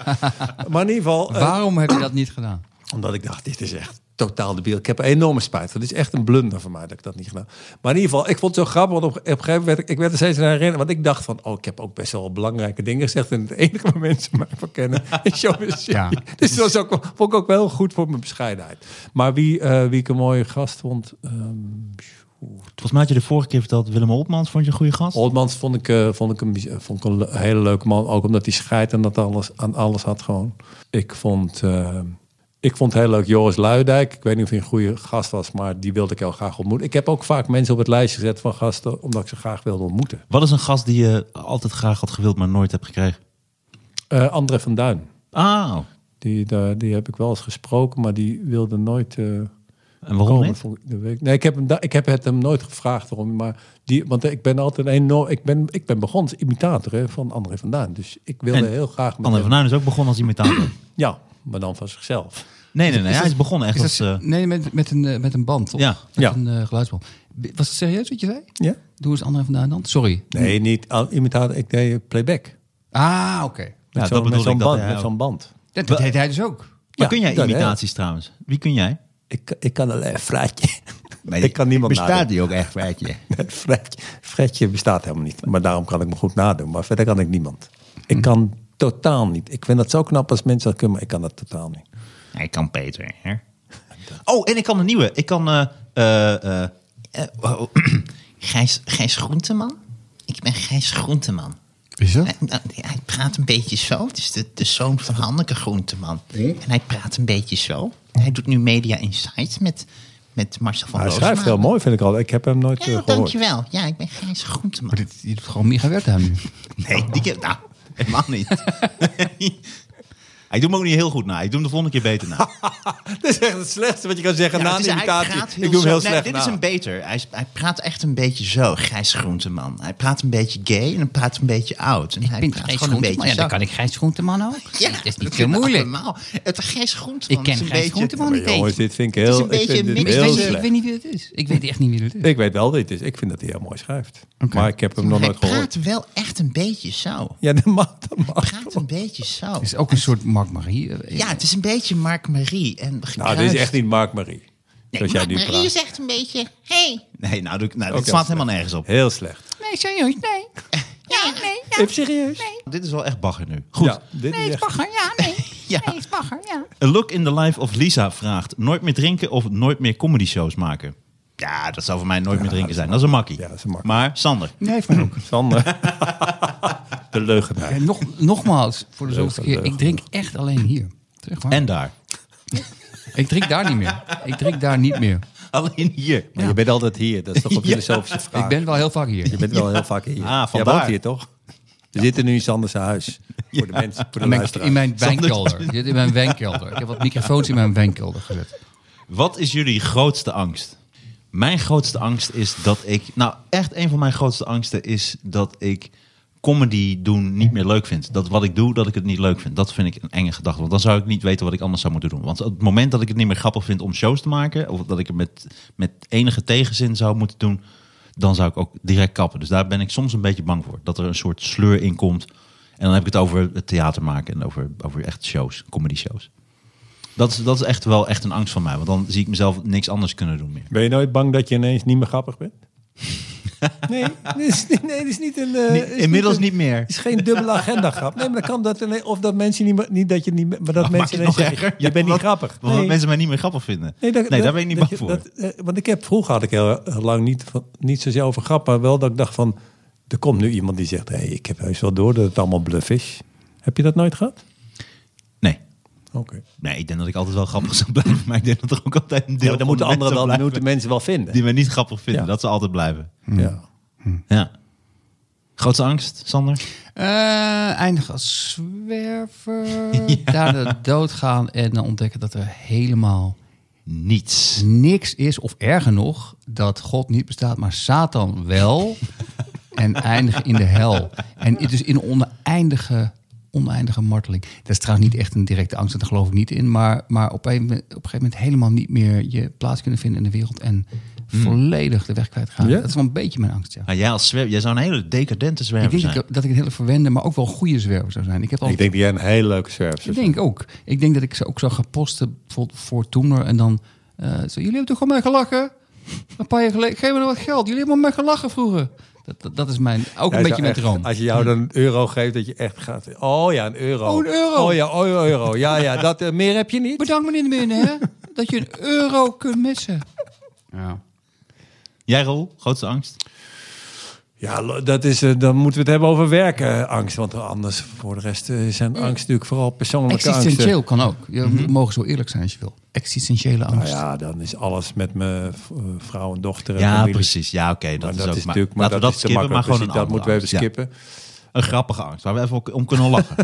Speaker 3: Maar in ieder geval, eh,
Speaker 4: Waarom heb je dat niet gedaan?
Speaker 3: omdat ik dacht, dit is echt totaal debiel. Ik heb er enorme spijt van. Dit is echt een blunder van mij dat ik dat niet gedaan heb. Maar in ieder geval, ik vond het zo grappig, want op, op een gegeven moment werd ik, ik werd er steeds naar herinnerd. Want ik dacht van, oh, ik heb ook best wel belangrijke dingen gezegd. En het enige waar mensen mij van kennen is Showbiz City.
Speaker 4: Ja.
Speaker 3: Dus dat was ook, wel- vond ik ook wel goed voor mijn bescheidenheid. Maar wie, eh, wie ik een mooie gast vond... ehm,
Speaker 2: Volgens mij had je de vorige keer verteld, Willem Oltmans vond je een goede gast.
Speaker 3: Oldmans vond ik, eh, vond, ik een, vond ik een le- hele leuke man. Ook omdat hij scheidt en dat alles, aan alles had gewoon. Ik vond, eh, ik vond heel leuk Joris Luidijk. Ik weet niet of hij een goede gast was, maar die wilde ik heel graag ontmoeten. Ik heb ook vaak mensen op het lijstje gezet van gasten, omdat ik ze graag wilde ontmoeten.
Speaker 2: Wat is een gast die je altijd graag had gewild, maar nooit hebt gekregen?
Speaker 3: Eh, André van Duin.
Speaker 2: Ah,
Speaker 3: Die, daar- die heb ik wel eens gesproken, maar die wilde nooit... eh,
Speaker 2: en waarom
Speaker 3: komen,
Speaker 2: niet?
Speaker 3: vond ik- dat weet ik- Nee, ik heb, hem da- ik heb het hem nooit gevraagd waarom. Maar die, want ik ben altijd een enorm. Ik ben, ik ben begonnen als imitator hè, van André van Duin. Dus ik wilde
Speaker 2: En
Speaker 3: heel graag. Met
Speaker 2: André
Speaker 3: hem-
Speaker 2: van Duin is ook begonnen als imitator.
Speaker 3: Ja, maar dan van zichzelf.
Speaker 2: Nee, nee, nee. hij nou is begonnen echt
Speaker 4: Is
Speaker 2: als...
Speaker 4: dat-
Speaker 2: eh,
Speaker 4: nee, met, met, een, eh, met een band, toch?
Speaker 2: Ja.
Speaker 4: Met
Speaker 3: Ja.
Speaker 4: een eh, geluidsband. B- Was het serieus wat je zei?
Speaker 3: Ja?
Speaker 4: Doe eens André van Duin dan. Sorry.
Speaker 3: Nee, niet al- imitator. Ik deed playback.
Speaker 4: Ah, oké.
Speaker 3: Met
Speaker 2: Ja,
Speaker 3: zo'n-
Speaker 2: dat bedoelde
Speaker 3: met zo'n
Speaker 2: ik dat
Speaker 3: band.
Speaker 2: hij
Speaker 3: met
Speaker 2: ook-
Speaker 3: zo'n band.
Speaker 4: Dat, dat deed hij dus ook.
Speaker 2: maar
Speaker 3: Ja,
Speaker 2: kun jij
Speaker 3: dat, hè.
Speaker 2: imitaties trouwens? Wie kun jij?
Speaker 3: Ik, ik kan alleen Fraatje. ik kan niemand
Speaker 7: Bestaat
Speaker 3: nadoen.
Speaker 7: die ook echt, weet je?
Speaker 3: Nee, Fredje, Fredje bestaat helemaal niet. Maar daarom kan ik me goed nadoen. Maar verder kan ik niemand. Ik kan totaal niet. Ik vind dat zo knap als mensen dat kunnen, maar ik kan dat totaal niet.
Speaker 7: Hij kan Peter, hè?
Speaker 2: Oh, en ik kan een nieuwe. Ik kan... eh, eh, eh,
Speaker 7: Eh, wow. Gijs, Gijs Groenteman? Ik ben Gijs Groenteman.
Speaker 4: Is
Speaker 7: Hij, nou, hij praat een beetje zo. Het is de, de zoon van Hanneke Groenteman. En hij praat een beetje zo. Hij doet nu Media Insights met, met Marcel van
Speaker 3: Hij
Speaker 7: Roosmalen.
Speaker 3: schrijft heel mooi, vind ik al. Ik heb hem nooit eh,
Speaker 7: Ja,
Speaker 3: gehoord.
Speaker 7: dankjewel. Ja, ik ben Gijs Groenteman. Oh.
Speaker 4: Maar dit, je doet gewoon Micha Wertheim nu.
Speaker 2: nee, die ken... Nou, helemaal niet. Hij doet hem ook niet heel goed na. Ik doe hem de volgende keer beter na.
Speaker 3: Dat is echt het slechtste wat je kan zeggen
Speaker 7: Ja,
Speaker 3: na
Speaker 7: het
Speaker 3: een
Speaker 7: is- hij
Speaker 3: imitatie.
Speaker 7: praat
Speaker 3: Ik doe hem heel
Speaker 7: zo- nee,
Speaker 3: slecht
Speaker 7: Dit
Speaker 3: na.
Speaker 7: is een beter. Hij, is- hij praat echt een beetje zo, Gijs Groenteman. Hij praat een beetje gay en hij praat een beetje oud. En
Speaker 5: Ik
Speaker 7: hij
Speaker 5: ben
Speaker 7: praat
Speaker 5: Gijs
Speaker 7: gewoon een
Speaker 5: Groenteman.
Speaker 7: beetje
Speaker 5: Ja,
Speaker 7: zo.
Speaker 5: dan kan ik Gijs Groenteman ook.
Speaker 7: Ja,
Speaker 5: dat is niet
Speaker 7: dat
Speaker 5: zo
Speaker 7: kunnen we
Speaker 5: moeilijk.
Speaker 7: allemaal. Het Gijs Groenteman
Speaker 5: Ik ken
Speaker 7: is een
Speaker 5: Gijs
Speaker 7: beetje...
Speaker 5: Groenteman
Speaker 3: Maar
Speaker 5: niet eens.
Speaker 3: jongens, dit vind ik
Speaker 7: is
Speaker 3: heel,
Speaker 7: een beetje
Speaker 3: ik vind
Speaker 7: een
Speaker 3: dit
Speaker 5: Ik
Speaker 7: mix
Speaker 3: heel
Speaker 5: weet,
Speaker 7: tussen-
Speaker 5: ik
Speaker 3: slecht.
Speaker 5: weet niet wie het is. Ik weet echt niet wie het is.
Speaker 3: Ik weet wel dat het is. Ik vind dat hij heel mooi schrijft. Maar ik heb hem nog
Speaker 7: Hij
Speaker 3: nooit gehoord.
Speaker 7: praat wel echt een beetje zo.
Speaker 3: Ja, dat mag. Dat mag.
Speaker 7: Praat een beetje zo.
Speaker 4: is ook een soort Mark Marie. eh,
Speaker 7: Ja, het is een beetje Mark Marie. En
Speaker 3: Nou, dit is echt niet Mark Marie. zoals jij
Speaker 7: dus- Mark
Speaker 3: nu
Speaker 7: Marie is
Speaker 3: praat.
Speaker 7: echt een beetje... Hey.
Speaker 2: Nee, nou, doe ik- nou dit
Speaker 3: Ook heel
Speaker 2: slaat
Speaker 3: slecht.
Speaker 2: helemaal nergens op.
Speaker 3: Heel slecht.
Speaker 5: Nee, serieus, nee. Ja, nee, ja.
Speaker 3: Even serieus?
Speaker 2: Dit is wel echt bagger nu. Goed.
Speaker 3: Ja, dit is echt-
Speaker 5: bagger, ja, nee.
Speaker 7: Ja.
Speaker 5: Nee, is bagger, ja.
Speaker 2: A Look in the Life of Lisa vraagt... Nooit meer drinken of nooit meer comedy shows maken? Ja, dat zou voor mij nooit meer drinken zijn. Dat is een makkie.
Speaker 3: Ja, dat is een makkie.
Speaker 2: Maar Sander,
Speaker 4: Nee, van ook.
Speaker 3: Sander. De leugenaar.
Speaker 4: En nog, nogmaals, voor de zoveelste
Speaker 3: leuk,
Speaker 4: keer. Ik drink echt alleen hier. Zeg maar.
Speaker 2: en daar.
Speaker 4: Ik drink daar niet meer. Ik drink daar niet meer.
Speaker 2: Alleen hier.
Speaker 3: Maar Je bent altijd hier. Dat is toch een filosofische vraag.
Speaker 4: Ik ben wel heel vaak hier.
Speaker 3: Je bent wel heel vaak hier.
Speaker 2: Ah,
Speaker 3: Jij
Speaker 2: vandaar.
Speaker 3: woont hier, toch? We zitten nu in Sanders huis. Voor de mensen, voor de
Speaker 4: In mijn, in
Speaker 3: luisteraars.
Speaker 4: mijn wijnkelder. Ik zit in mijn wijnkelder. Ik heb wat microfoons in mijn wijnkelder gezet.
Speaker 2: Wat is jullie grootste angst? Mijn grootste angst is dat ik... Nou, echt een van mijn grootste angsten is dat ik comedy doen niet meer leuk vind. Dat wat ik doe, dat ik het niet leuk vind. Dat vind ik een enge gedachte. Want dan zou ik niet weten wat ik anders zou moeten doen. Want op het moment dat ik het niet meer grappig vind om shows te maken... of dat ik het met, met enige tegenzin zou moeten doen... dan zou ik ook direct kappen. Dus daar ben ik soms een beetje bang voor. Dat er een soort sleur in komt. En dan heb ik het over het theater maken... en over, over echt shows, comedy shows. Dat is, dat is echt wel echt een angst van mij. Want dan zie ik mezelf niks anders kunnen doen meer.
Speaker 3: Ben je nooit bang dat je ineens niet meer grappig bent? Nee, dit is, niet- nee, dit is niet een... eh, is niet
Speaker 2: Inmiddels
Speaker 3: een-
Speaker 2: niet meer.
Speaker 3: Het is geen dubbele agenda grap. Nee, maar dat kan dat ineens- of dat mensen niet, meer- niet dat je niet, meer- maar dat
Speaker 2: Maakt het
Speaker 3: mensen ineens
Speaker 2: nog
Speaker 3: zeggen,
Speaker 2: erger?
Speaker 3: je bent niet
Speaker 2: Wat-
Speaker 3: grappig.
Speaker 2: Wat mensen mij niet meer grappig vinden. Nee,
Speaker 3: dat-
Speaker 2: daar
Speaker 3: dat-
Speaker 2: ben ik niet
Speaker 3: dat
Speaker 2: bang
Speaker 3: je-
Speaker 2: voor.
Speaker 3: dat, eh, want ik heb vroeger had ik heel, heel lang niet, van- niet zozeer over grap, maar wel dat ik dacht van, er komt nu iemand die zegt, hey, ik heb heus wel door dat het allemaal bluff is. Heb je dat nooit gehad?
Speaker 2: Nee.
Speaker 3: Oké.
Speaker 2: Nee, ik denk dat ik altijd wel grappig zou blijven. Maar ik denk dat er ook altijd een deel
Speaker 3: Ja, maar dan moeten
Speaker 2: van de
Speaker 3: anderen
Speaker 2: mensen
Speaker 3: wel,
Speaker 2: blijven
Speaker 3: moeten mensen wel vinden.
Speaker 2: Die mij niet grappig vinden.
Speaker 3: Ja.
Speaker 2: Dat ze altijd blijven.
Speaker 3: ja.
Speaker 2: Ja. Grootste angst, Sander?
Speaker 4: Eh eindig als zwerver. Daar de doodgaan en dan ontdekken dat er helemaal
Speaker 2: Niets.
Speaker 4: niks is. Of erger nog, dat God niet bestaat, maar Satan wel. en eindigen in de hel. En dus in een oneindige, oneindige marteling. Dat is trouwens niet echt een directe angst, daar geloof ik niet in. Maar, maar op, een, op een gegeven moment helemaal niet meer je plaats kunnen vinden in de wereld. En volledig de weg kwijtgaan.
Speaker 3: Ja?
Speaker 4: Dat is wel een beetje mijn angst, ja.
Speaker 2: Nou, jij, als zwerver, jij zou een hele decadente
Speaker 4: Ik
Speaker 2: zwerver
Speaker 4: denk
Speaker 2: zijn.
Speaker 4: dat ik, dat ik een hele verwende, maar ook wel een goede zwerver zou zijn. Ik heb al
Speaker 3: Ik denk dat jij een hele leuke service
Speaker 4: ik denk ook. Ik denk dat ik ze ook zou gaan posten bijvoorbeeld voor Toemer. En dan, eh, zo, jullie hebben toch gewoon mij gelachen? Een paar jaar geleden, geef me nog wat geld. Jullie hebben mij gelachen vroeger. Dat, dat, dat is mijn, ook een
Speaker 3: Jij
Speaker 4: beetje
Speaker 3: zou
Speaker 4: mijn
Speaker 3: echt-
Speaker 4: droom.
Speaker 3: Als je jou dan een euro geeft, dat je echt gaat... Oh ja, een euro.
Speaker 4: Oh, een euro.
Speaker 3: Oh ja, oh, een euro. Ja, ja, dat, eh, meer heb je niet.
Speaker 4: Bedankt meneer de Binnen, hè, dat je een euro kunt missen. Ja.
Speaker 2: Jij Rol, grootste angst?
Speaker 3: Ja, lo- dat is, eh, dan moeten we het hebben over werkenangst. Want anders voor de rest eh, zijn angst natuurlijk vooral persoonlijke angsten.
Speaker 4: Existentieel kan ook. Je
Speaker 2: Mhm.
Speaker 4: mogen zo eerlijk zijn als je wil. Existentiële
Speaker 3: Nou
Speaker 4: angst.
Speaker 3: ja, dan is alles met mijn v- eh, vrouw en dochter. en
Speaker 2: Ja,
Speaker 3: familie.
Speaker 2: precies. Ja, oké. dat,
Speaker 3: Maar
Speaker 2: is
Speaker 3: dat
Speaker 2: ook
Speaker 3: is
Speaker 2: maar,
Speaker 3: natuurlijk, maar
Speaker 2: laten
Speaker 3: dat,
Speaker 2: we dat
Speaker 3: is te
Speaker 2: skippen, maar
Speaker 3: makkelijk.
Speaker 2: gewoon een
Speaker 3: Dus dat moeten we
Speaker 2: andere
Speaker 3: even
Speaker 2: angst.
Speaker 3: skippen.
Speaker 2: Ja, een grappige angst, waar we even om kunnen lachen.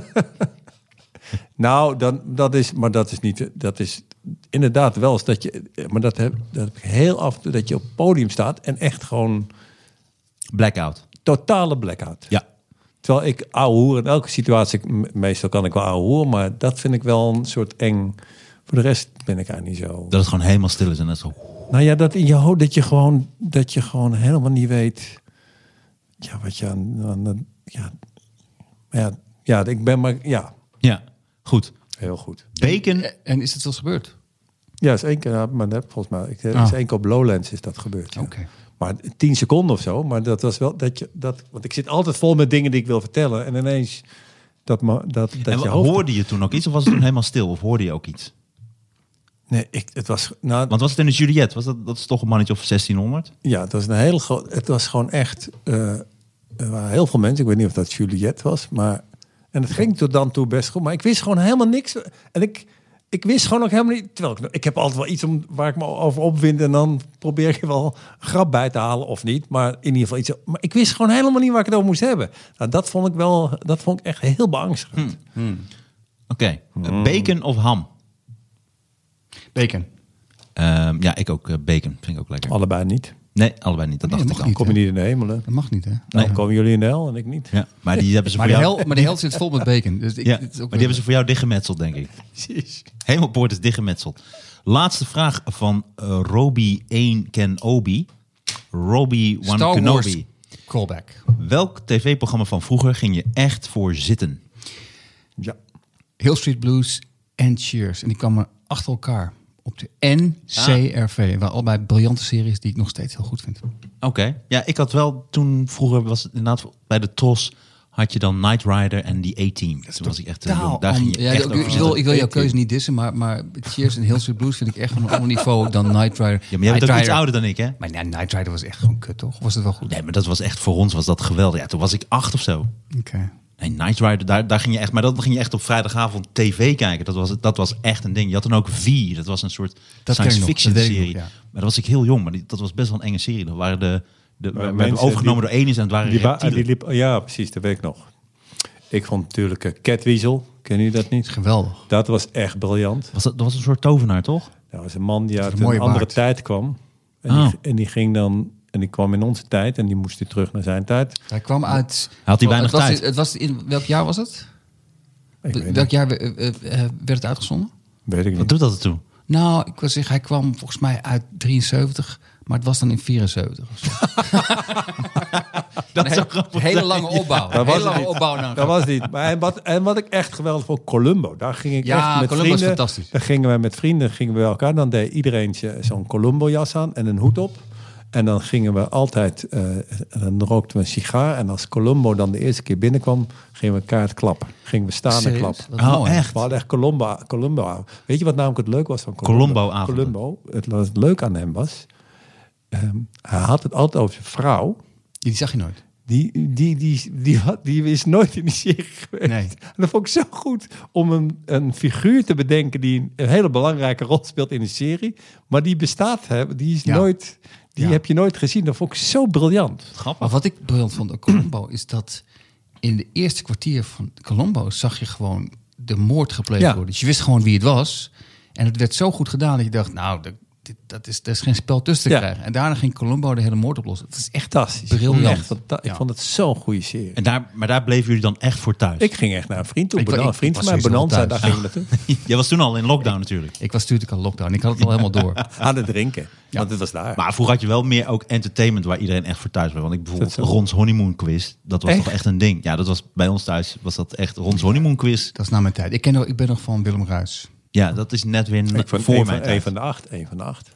Speaker 3: Nou, dan, dat is, maar dat is niet. Dat is inderdaad wel eens dat je. eh, Maar dat heb, dat heb ik heel af en toe. Dat je op het podium staat en echt gewoon
Speaker 2: Blackout.
Speaker 3: totale blackout.
Speaker 2: Ja.
Speaker 3: Terwijl ik ouwe hoer in elke situatie. me- Meestal kan ik wel ouwe hoer, maar dat vind ik wel een soort eng. Voor de rest ben ik eigenlijk niet zo.
Speaker 2: Dat het gewoon helemaal stil is en dat is zo...
Speaker 3: Nou ja, dat in je hoofd. Dat je gewoon, dat je gewoon helemaal niet weet. Ja, wat je aan. aan- aan- ja, Maar ja, ja, ik ben maar. Ja,
Speaker 2: Ja, goed.
Speaker 3: heel goed.
Speaker 2: Bacon.
Speaker 4: Eh, En is het wel eens gebeurd?
Speaker 3: Ja, is één keer, ja, maar dat, volgens mij, ik,
Speaker 4: Ah.
Speaker 3: is één keer op Lowlands is dat gebeurd. ja.
Speaker 4: Oké.
Speaker 3: Maar tien seconden of zo, maar dat was wel dat je dat, want ik zit altijd vol met dingen die ik wil vertellen en ineens dat ma- dat dat
Speaker 2: En
Speaker 3: je hoofd-
Speaker 2: hoorde je toen ook iets of was het toen helemaal stil? Of hoorde je ook iets?
Speaker 3: Nee, ik, het was nou
Speaker 2: Want was het in de Juliet? Was dat, dat is toch een mannetje of 1600?
Speaker 3: ja, het was een heel groot. Het was gewoon echt. eh, er waren heel veel mensen. Ik weet niet of dat Juliet was, maar en het ging tot dan toe best goed. Maar ik wist gewoon helemaal niks en ik. Ik wist gewoon ook helemaal niet. Terwijl ik, ik heb altijd wel iets om, waar ik me over opwind. En dan probeer ik er wel een grap bij te halen of niet. Maar in ieder geval iets. Maar ik wist gewoon helemaal niet waar ik het over moest hebben. Nou, dat vond ik wel. Dat vond ik echt heel beangstigend.
Speaker 2: Oké. Eh, Bacon of ham?
Speaker 4: Bacon.
Speaker 2: Ehm, ja, ik ook. eh, bacon vind ik ook lekker.
Speaker 3: Allebei niet.
Speaker 2: Nee, allebei niet. Dat
Speaker 4: Nee,
Speaker 2: dacht
Speaker 4: dat
Speaker 2: ik al.
Speaker 4: mag
Speaker 3: Kom je niet in de hemel. Hè?
Speaker 4: Dat mag niet, hè?
Speaker 3: Dan komen jullie in de hel en ik niet.
Speaker 2: Nou, Ja, maar die hebben ze
Speaker 4: Maar de,
Speaker 2: voor jou...
Speaker 4: hel, maar de hel zit vol met bacon. Dus ik,
Speaker 2: Ja,
Speaker 4: dit
Speaker 2: maar
Speaker 4: is
Speaker 2: die
Speaker 4: ook
Speaker 2: hebben ze voor jou dichtgemetseld, denk ik.
Speaker 3: Precies.
Speaker 2: Hemelpoort is dichtgemetseld. Laatste vraag van eh Roby 1 Kenobi. Roby 1
Speaker 4: Star
Speaker 2: Kenobi.
Speaker 4: Wars callback.
Speaker 2: Welk tv-programma van vroeger ging je echt voor zitten?
Speaker 3: Ja.
Speaker 4: Hill Street Blues en Cheers. En die kwamen achter elkaar op de NCRV. Waar allebei briljante series die ik nog steeds heel goed vind.
Speaker 2: Oké. Ja, ik had wel toen vroeger was het inderdaad bij de TOS had je dan Knight Rider en die A-Team. Toen was ik echt een jong. Daar ging je
Speaker 4: Ja,
Speaker 2: echt
Speaker 4: ik,
Speaker 2: over
Speaker 4: ik wil,
Speaker 2: zitten.
Speaker 4: ik wil jouw keuze niet dissen, maar, maar Cheers en Hill Street Blues vind ik echt van een ander niveau dan Night Rider.
Speaker 2: Ja, maar jij
Speaker 4: Knight
Speaker 2: bent ook iets
Speaker 4: Rider-
Speaker 2: ouder dan ik, hè?
Speaker 4: Maar ja, Night Rider was echt gewoon kut, toch? Of Was het wel goed?
Speaker 2: Nee, maar dat was echt voor ons was dat geweldig. Ja, toen was ik acht of zo.
Speaker 4: Oké.
Speaker 2: Nee, Knight Rider, daar, daar ging je echt, maar dat ging je echt op vrijdagavond tv kijken. Dat was, dat was echt een ding. Je had dan ook V, dat was een soort
Speaker 4: ken ik
Speaker 2: science
Speaker 4: nog,
Speaker 2: fiction
Speaker 4: dat weet ik
Speaker 2: serie.
Speaker 4: nog, ja.
Speaker 2: Maar dat was ik heel jong, maar die- dat was best wel een enge serie. Dat waren de, de we werden
Speaker 3: mensen
Speaker 2: overgenomen
Speaker 3: die-
Speaker 2: door aliens en het waren
Speaker 3: Die ba-
Speaker 2: reptielen.
Speaker 3: die liep, ja, precies, dat weet ik nog. Ik vond natuurlijk eh, Catweasel, kennen jullie dat niet?
Speaker 4: Geweldig.
Speaker 3: Dat was echt briljant.
Speaker 2: was dat, dat was een soort tovenaar, toch?
Speaker 3: Dat was een man die uit
Speaker 4: een
Speaker 3: een,
Speaker 4: mooie
Speaker 3: andere
Speaker 4: baard.
Speaker 3: tijd kwam. En,
Speaker 2: Ah.
Speaker 3: die, en die ging dan, en die kwam in onze tijd en die moest weer terug naar zijn tijd.
Speaker 4: Hij kwam uit...
Speaker 2: Had hij
Speaker 4: het
Speaker 2: weinig
Speaker 4: was,
Speaker 2: tijd.
Speaker 4: Het was in, welk jaar was het?
Speaker 3: Ik weet,
Speaker 4: Welk
Speaker 3: niet,
Speaker 4: jaar eh, eh, eh, werd het uitgezonden?
Speaker 3: weet ik
Speaker 2: Wat
Speaker 3: niet.
Speaker 2: doet dat ertoe?
Speaker 4: Nou, ik wil zeggen, hij kwam volgens mij uit 73, maar het was dan in 74. of zo.
Speaker 2: Dat is
Speaker 4: Een
Speaker 2: ook grappig.
Speaker 4: hele lange opbouw. Een hele
Speaker 3: was het
Speaker 4: lange
Speaker 3: niet.
Speaker 4: opbouw naar
Speaker 3: Dat was niet. Maar en, wat, en wat ik echt geweldig vond, Columbo. Daar ging ik
Speaker 4: Ja,
Speaker 3: echt met
Speaker 4: Columbo is
Speaker 3: vrienden.
Speaker 4: fantastisch.
Speaker 3: Daar gingen wij met vrienden gingen we bij elkaar. Dan deed iedereen zo- zo'n Columbo-jas aan en een hoed op. En dan gingen we altijd, eh, en dan rookten we een sigaar. En als Columbo dan de eerste keer binnenkwam, gingen we kaart klappen. Gingen we staan en
Speaker 4: Serieus?
Speaker 3: klappen.
Speaker 4: Wat
Speaker 2: Oh,
Speaker 4: mooi.
Speaker 2: echt?
Speaker 3: We hadden echt Columbo, Columbo. Weet je wat namelijk het leuk was van Columbo?
Speaker 2: Columbo-avonden.
Speaker 3: Columbo, het, wat het leuk aan hem was, ehm, hij had het altijd over zijn vrouw.
Speaker 4: Die zag je nooit.
Speaker 3: Die, die, die, die, had- die is nooit in die serie geweest.
Speaker 4: Nee.
Speaker 3: En dat vond ik zo goed om een, een figuur te bedenken die een, een hele belangrijke rol speelt in de serie. Maar die bestaat, hè, die, is
Speaker 4: Ja.
Speaker 3: nooit, die
Speaker 4: Ja.
Speaker 3: heb je nooit gezien. Dat vond ik zo briljant.
Speaker 2: Grappig.
Speaker 4: Maar wat ik briljant vond aan Colombo is dat in de eerste kwartier van Colombo zag je gewoon de moord gepleegd
Speaker 3: Ja.
Speaker 4: worden. Dus je wist gewoon wie het was. En het werd zo goed gedaan dat je dacht, nou, dat, dit- dat is, daar is geen spel tussen te
Speaker 3: Ja.
Speaker 4: krijgen. En daarna ging Colombo de hele moord oplossen. Het is echt
Speaker 3: Fantastisch.
Speaker 4: Briljant.
Speaker 3: Echt fanta-
Speaker 4: Ja.
Speaker 3: Ik vond het zo'n goede serie.
Speaker 2: En daar, maar daar bleven jullie dan echt voor thuis?
Speaker 3: Ik ging echt naar een vriend toe.
Speaker 4: Ik-
Speaker 3: Benan-
Speaker 4: ik-
Speaker 3: een vriend
Speaker 4: ik
Speaker 3: van
Speaker 4: was
Speaker 3: mij,
Speaker 4: sowieso
Speaker 3: Bonanza,
Speaker 4: wel
Speaker 3: daar
Speaker 4: thuis.
Speaker 3: gingen we naartoe.
Speaker 2: Jij was toen al in lockdown natuurlijk.
Speaker 4: Ik was natuurlijk al lockdown. Ik had het al helemaal door.
Speaker 3: Aan het drinken. Want het was daar.
Speaker 2: Maar vroeger had je wel meer ook entertainment waar iedereen echt voor thuis was. Want ik bijvoorbeeld
Speaker 3: Dat zo.
Speaker 2: Rons Honeymoon Quiz, dat was
Speaker 3: Echt?
Speaker 2: toch echt een ding. Ja, dat was bij ons thuis was dat echt Rons Honeymoon Quiz.
Speaker 4: Dat is na mijn tijd. Ik, ken, nog- ik ben nog van Willem Ruijs.
Speaker 2: Ja, dat is net weer
Speaker 3: ik vond
Speaker 2: voor
Speaker 3: een,
Speaker 2: mij.
Speaker 3: van, een van de acht. Een van de acht.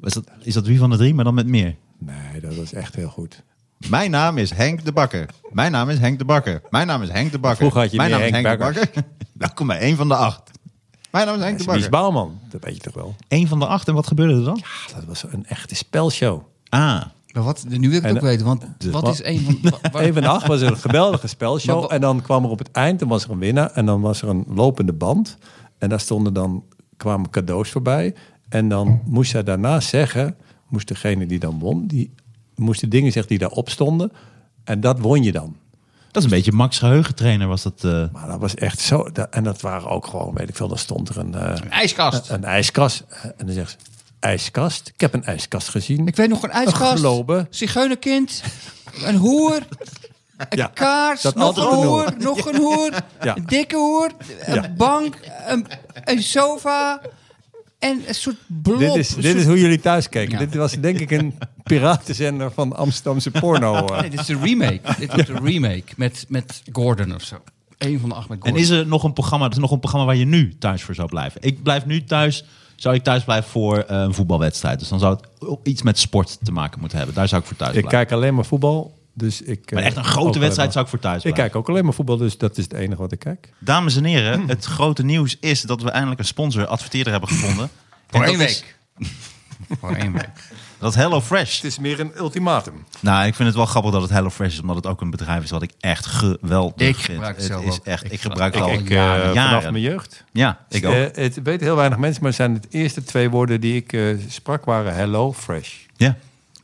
Speaker 2: Is dat, is dat wie van de drie, maar dan met meer?
Speaker 3: Nee, dat was echt heel goed.
Speaker 2: Mijn naam is Henk de Bakker. Mijn naam is Henk de Bakker. Mijn naam is Henk de Bakker.
Speaker 3: Vroeger had je Mijn meer naam is Henk Henk de Bakkers.
Speaker 2: Welkom bij Nou, één van de acht. Mijn naam is Henk
Speaker 3: Wies Bouwman, dat weet je toch wel.
Speaker 2: Eén van de acht, en wat gebeurde er dan?
Speaker 3: Ah, dat was een echte spelshow.
Speaker 2: Ah,
Speaker 4: Maar wat, nu wil ik het
Speaker 3: En,
Speaker 4: ook weten, want wat
Speaker 3: wat-
Speaker 4: is een van... wa- wa-
Speaker 3: Even nacht was er een geweldige spelshow.
Speaker 4: Maar wa-
Speaker 3: en dan kwam er op het eind, dan was er een winnaar. En dan was er een lopende band. En daar stonden dan, kwamen cadeaus voorbij. En dan moest zij daarna zeggen, moest degene die dan won, die moest de dingen zeggen die daarop stonden. En dat won je dan.
Speaker 2: dat is een beetje Max geheugentrainer was dat. eh.
Speaker 3: Maar dat was echt zo. da- En dat waren ook gewoon, weet ik veel, dan stond er een, eh,
Speaker 4: ijskast.
Speaker 3: een ijskast. En dan zegt ze, ijskast? Ik heb een ijskast gezien.
Speaker 4: Ik weet nog een ijskast.
Speaker 3: gelopen.
Speaker 4: Zigeunerkind. Een hoer. Een
Speaker 3: Ja,
Speaker 4: kaars.
Speaker 3: dat
Speaker 4: Nog
Speaker 3: altijd
Speaker 4: een
Speaker 3: een
Speaker 4: hoer.
Speaker 3: hoer.
Speaker 4: Nog een hoer.
Speaker 3: Ja.
Speaker 4: Een dikke hoer. Een
Speaker 3: Ja.
Speaker 4: bank. Een, een sofa. En een soort blob.
Speaker 3: Dit is,
Speaker 4: een
Speaker 3: dit
Speaker 4: soort-
Speaker 3: is hoe jullie thuis keken.
Speaker 4: Ja.
Speaker 3: Dit was denk ik een piratenzender van Amsterdamse porno. eh.
Speaker 4: Nee, dit is een remake. Dit wordt een remake met, met Gordon of zo. Eén van de acht met
Speaker 2: En
Speaker 4: Gordon.
Speaker 2: is er nog een programma? Er is nog een programma waar je nu thuis voor zou blijven. Ik blijf nu thuis. Zou ik thuis blijven voor eh, een voetbalwedstrijd? Dus dan zou het ook iets met sport te maken moeten hebben. Daar zou ik voor thuis
Speaker 3: Ik
Speaker 2: blijven.
Speaker 3: kijk alleen maar voetbal. Dus ik,
Speaker 2: Maar
Speaker 3: eh,
Speaker 2: echt een
Speaker 3: ook
Speaker 2: grote
Speaker 3: alleen
Speaker 2: wedstrijd
Speaker 3: maar-
Speaker 2: zou ik voor thuis
Speaker 3: Ik
Speaker 2: blijven.
Speaker 3: kijk ook alleen maar voetbal, dus dat is het enige wat ik kijk.
Speaker 2: Dames en heren, het grote nieuws is dat we eindelijk een sponsor, adverteerder hebben gevonden.
Speaker 4: Voor
Speaker 2: En
Speaker 4: één
Speaker 2: dat is-
Speaker 4: week. Voor één week.
Speaker 2: Dat HelloFresh.
Speaker 3: is meer een ultimatum.
Speaker 2: Nou, ik vind het wel grappig dat het HelloFresh is, omdat het ook een bedrijf is wat ik echt geweldig
Speaker 4: Ik
Speaker 2: vind.
Speaker 4: gebruik het
Speaker 2: het
Speaker 4: zelf
Speaker 2: is
Speaker 4: ook.
Speaker 2: echt, ik,
Speaker 4: Ik
Speaker 2: gebruik het
Speaker 4: gebruik
Speaker 2: al
Speaker 3: Ik,
Speaker 4: het
Speaker 3: eh,
Speaker 2: jaren.
Speaker 3: vanaf
Speaker 2: jaren.
Speaker 3: mijn jeugd.
Speaker 2: Ja, ik ook.
Speaker 3: Eh, het weten heel weinig mensen, maar zijn het eerste twee woorden die ik eh, sprak waren hello, fresh.
Speaker 2: ja.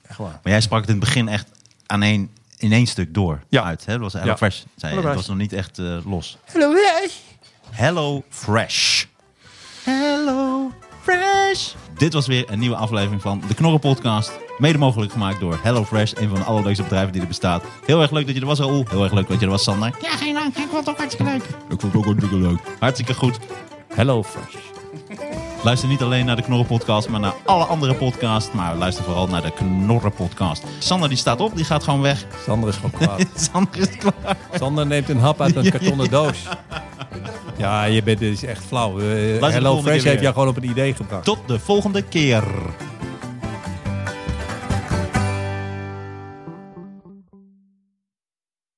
Speaker 3: Echt waar.
Speaker 2: Maar jij sprak het in het begin echt aan één, in één stuk door
Speaker 3: Ja.
Speaker 2: uit. Hè? Dat was HelloFresh, zei je.
Speaker 3: HelloFresh.
Speaker 2: Het was nog niet echt eh, los.
Speaker 3: Hello, fresh.
Speaker 2: HelloFresh. HelloFresh. Dit was weer een nieuwe aflevering van de Knorren Podcast. Mede mogelijk gemaakt door HelloFresh, een van de allerleukste bedrijven die er bestaat. Heel erg leuk dat je er was, Raoul. Heel erg leuk dat je er was, Sander. Ik
Speaker 6: Ja, geen dank. Ik vond het ook hartstikke leuk.
Speaker 2: vond het ook hartstikke leuk. Hartstikke goed.
Speaker 3: Hello, fresh.
Speaker 2: Luister niet alleen naar de Knorren Podcast, maar naar alle andere podcasts. Maar luister vooral naar de Knorren Podcast. Sander die staat op, die gaat gewoon weg.
Speaker 3: Sander is gewoon kwaad.
Speaker 2: Sander is klaar.
Speaker 3: Sander neemt een hap uit een kartonnen doos. Ja, je bent dit is echt flauw. Eh,
Speaker 2: de
Speaker 3: hello,
Speaker 2: volgende keer
Speaker 3: fresh
Speaker 2: weer.
Speaker 3: heeft jou gewoon op een idee gebracht.
Speaker 2: Tot de volgende keer.